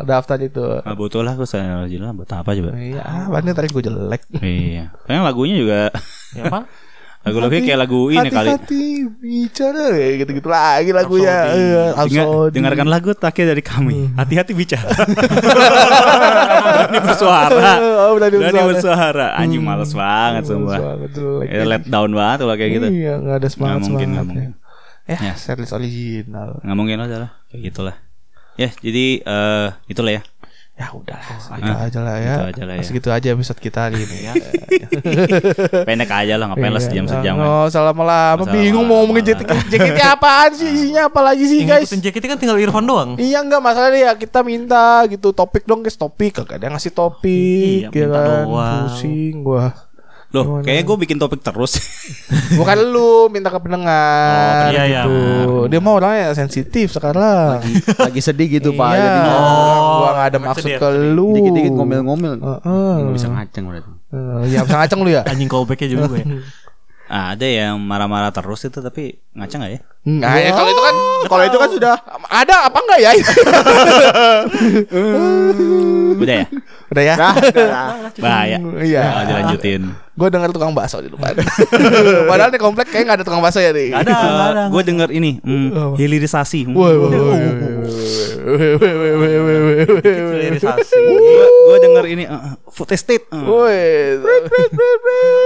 [SPEAKER 5] daftar itu.
[SPEAKER 3] Nah, butuh lah gue saya original buat apa coba?
[SPEAKER 5] Iya, apaan tadi gua jelek.
[SPEAKER 3] Iya. Kayaknya lagunya juga
[SPEAKER 2] Ya, apa?
[SPEAKER 3] lagu-lagunya kayak lagu ini kali.
[SPEAKER 5] Hati-hati bicara kayak gitu-gitu lagi lagunya.
[SPEAKER 2] Rhapsody.
[SPEAKER 5] Iya,
[SPEAKER 3] Dengar,
[SPEAKER 5] Rhapsody.
[SPEAKER 3] dengarkan lagu terakhir dari
[SPEAKER 5] Hmm.
[SPEAKER 3] kami. Hati-hati bicara. Berani bersuara.
[SPEAKER 5] Oh, berani
[SPEAKER 3] Berani
[SPEAKER 5] bersuara.
[SPEAKER 3] bersuara. Anjing males banget semua.
[SPEAKER 5] Suara jelek. gitu.
[SPEAKER 3] Ya, let down banget kalau kayak gitu.
[SPEAKER 5] Iya, enggak ada semangat
[SPEAKER 3] Nggak mungkin, nggak
[SPEAKER 5] semangatnya. Eh,
[SPEAKER 3] Ya.
[SPEAKER 5] setlist original.
[SPEAKER 3] Nggak mungkin aja lah. Kayak gitulah. Ya, jadi eh itulah ya.
[SPEAKER 5] Ya udahlah, segitu aja lah ya.
[SPEAKER 3] Gitu aja lah ya.
[SPEAKER 5] Segitu aja episode kita hari ini ya.
[SPEAKER 3] Pendek aja lah ngapain lah sejam sejam
[SPEAKER 2] ya.
[SPEAKER 3] kan.
[SPEAKER 5] Oh, lama-lama
[SPEAKER 3] Salah
[SPEAKER 5] bingung mau ngomongin
[SPEAKER 3] lama.
[SPEAKER 5] JKT JKT apaan sih isinya apa lagi sih
[SPEAKER 2] Yang
[SPEAKER 5] guys?
[SPEAKER 2] ikutin JKT kan tinggal Irfan doang.
[SPEAKER 5] Iya enggak masalah ya kita minta gitu topik dong guys topik kagak ada yang ngasih
[SPEAKER 2] Iya,
[SPEAKER 5] topik
[SPEAKER 2] minta
[SPEAKER 5] ya kan?
[SPEAKER 2] doang.
[SPEAKER 5] pusing gua
[SPEAKER 3] Loh, kayaknya gue bikin topik terus.
[SPEAKER 5] bukan lu minta ke
[SPEAKER 2] Oh,
[SPEAKER 5] pendengar
[SPEAKER 2] iya, iya,
[SPEAKER 5] gitu. dia mau orangnya sensitif sekarang
[SPEAKER 4] lagi sedih gitu Pak.
[SPEAKER 5] iya
[SPEAKER 4] Jadi
[SPEAKER 5] gua nggak ada
[SPEAKER 2] Oh,
[SPEAKER 5] maksud
[SPEAKER 2] sedih,
[SPEAKER 5] ke lu
[SPEAKER 4] dikit-dikit ngomel-ngomel.
[SPEAKER 5] Heeh.
[SPEAKER 4] Nggak bisa ngaceng berarti.
[SPEAKER 5] Eh, ya bisa ngaceng lu ya
[SPEAKER 2] Anjing callbacknya juga gue.
[SPEAKER 3] Ah, ada yang marah-marah terus itu tapi ngaca nggak ya?
[SPEAKER 5] Nah, ya kalau itu kan
[SPEAKER 4] Kalau itu kan sudah
[SPEAKER 5] ada apa enggak ya?
[SPEAKER 3] Udah ya?
[SPEAKER 5] Udah ya.
[SPEAKER 4] dah, dah, dah.
[SPEAKER 3] Bahaya.
[SPEAKER 5] Iya.
[SPEAKER 3] Nah, dilanjutin.
[SPEAKER 5] Gue dengar tukang bakso di depan. Padahal di komplek kayak gak ada tukang bakso ya nih.
[SPEAKER 3] Ada, gue denger ini, hmm, hilirisasi. Hmm.
[SPEAKER 5] Woi, woi, woi, woi, woi, woi, woi, woi, woi, woi, woi.
[SPEAKER 2] Hilirisasi.
[SPEAKER 3] Gua- Gua denger ini eh, eh, food estate. eh.
[SPEAKER 5] Woi.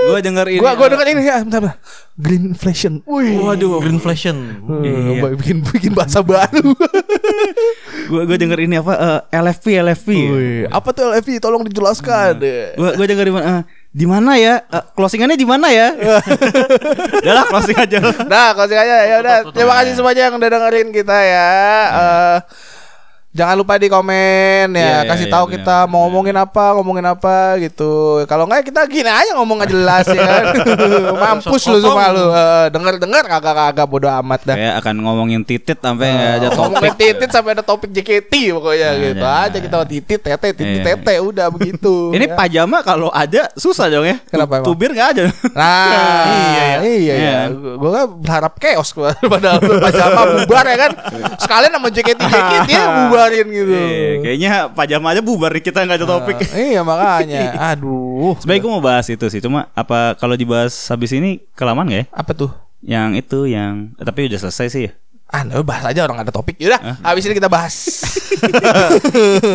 [SPEAKER 3] Gua denger ini.
[SPEAKER 5] Gua gua
[SPEAKER 3] eh,
[SPEAKER 5] dengar ini ya, bentar, bentar. Green inflation. Wih.
[SPEAKER 2] Waduh, greenflation.
[SPEAKER 5] Eh, bikin bikin bahasa baru.
[SPEAKER 3] Gua gua denger ini apa? eh, LFP LFP.
[SPEAKER 5] Wih, apa tuh LFI? Tolong dijelaskan.
[SPEAKER 3] Gua gua denger di mana? eh, di mana ya? Eh, closingannya di mana ya? Udah lah closing aja. lah.
[SPEAKER 5] Nah, closing aja ya udah. Terima kasih semuanya yang udah dengerin kita
[SPEAKER 3] Iya.
[SPEAKER 5] ya. Eh, jangan lupa di
[SPEAKER 3] Iya,
[SPEAKER 5] komen ya,
[SPEAKER 3] iya,
[SPEAKER 5] kasih
[SPEAKER 3] iya,
[SPEAKER 5] tahu
[SPEAKER 3] bener,
[SPEAKER 5] kita mau ngomongin apa, ngomongin apa gitu. Kalau enggak kita gini aja ngomong gak jelas ya kan. Mampus
[SPEAKER 2] Kosong.
[SPEAKER 5] lu semua lu. Dengar-dengar kagak-kagak bodoh amat dah.
[SPEAKER 3] Kayak akan ngomongin titit sampai nggak ada topik.
[SPEAKER 5] Nah. Oh. Ngomongin titit sampai ada topik JKT pokoknya
[SPEAKER 3] Nah,
[SPEAKER 5] gitu
[SPEAKER 3] nah,
[SPEAKER 5] aja kita titit tete titit
[SPEAKER 3] Iya.
[SPEAKER 5] tete udah begitu.
[SPEAKER 3] Ini
[SPEAKER 5] ya.
[SPEAKER 3] pajama kalau ada susah dong ya.
[SPEAKER 5] Kenapa emang?
[SPEAKER 3] Tubir nggak ada.
[SPEAKER 5] Nah, iya iya. iya,
[SPEAKER 3] Iya.
[SPEAKER 5] Gue kan berharap chaos gue padahal pajama bubar ya kan. Sekalian sama JKT JKT ya bubarin gitu.
[SPEAKER 3] Eh, kayaknya pajama aja bubar nih, kita nggak ada topik.
[SPEAKER 5] Nah, iya makanya. Aduh.
[SPEAKER 3] Sebenarnya gue mau bahas itu sih, cuma apa kalau dibahas habis ini kelamaan gak ya?
[SPEAKER 5] Apa tuh?
[SPEAKER 3] Yang itu yang eh, tapi udah selesai sih ya.
[SPEAKER 5] Ah, nah, bahas aja orang ada topik. Yaudah, habis ini kita bahas.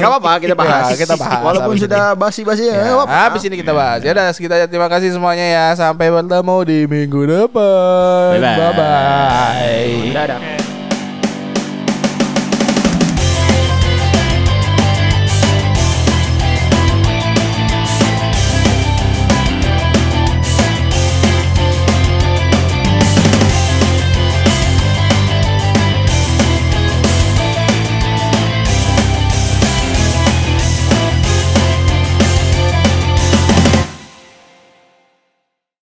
[SPEAKER 4] Gak apa-apa kita
[SPEAKER 3] Iya,
[SPEAKER 4] bahas.
[SPEAKER 5] Ya, kita bahas
[SPEAKER 4] Walaupun
[SPEAKER 5] abis
[SPEAKER 4] sudah basi-basi ya. nggak
[SPEAKER 5] ya, iya.
[SPEAKER 4] apa-apa.
[SPEAKER 5] habis ini kita bahas. Yaudah, kita terima kasih semuanya ya. Sampai bertemu di minggu depan.
[SPEAKER 3] Bye-bye.
[SPEAKER 5] Bye-bye.
[SPEAKER 4] Dadah.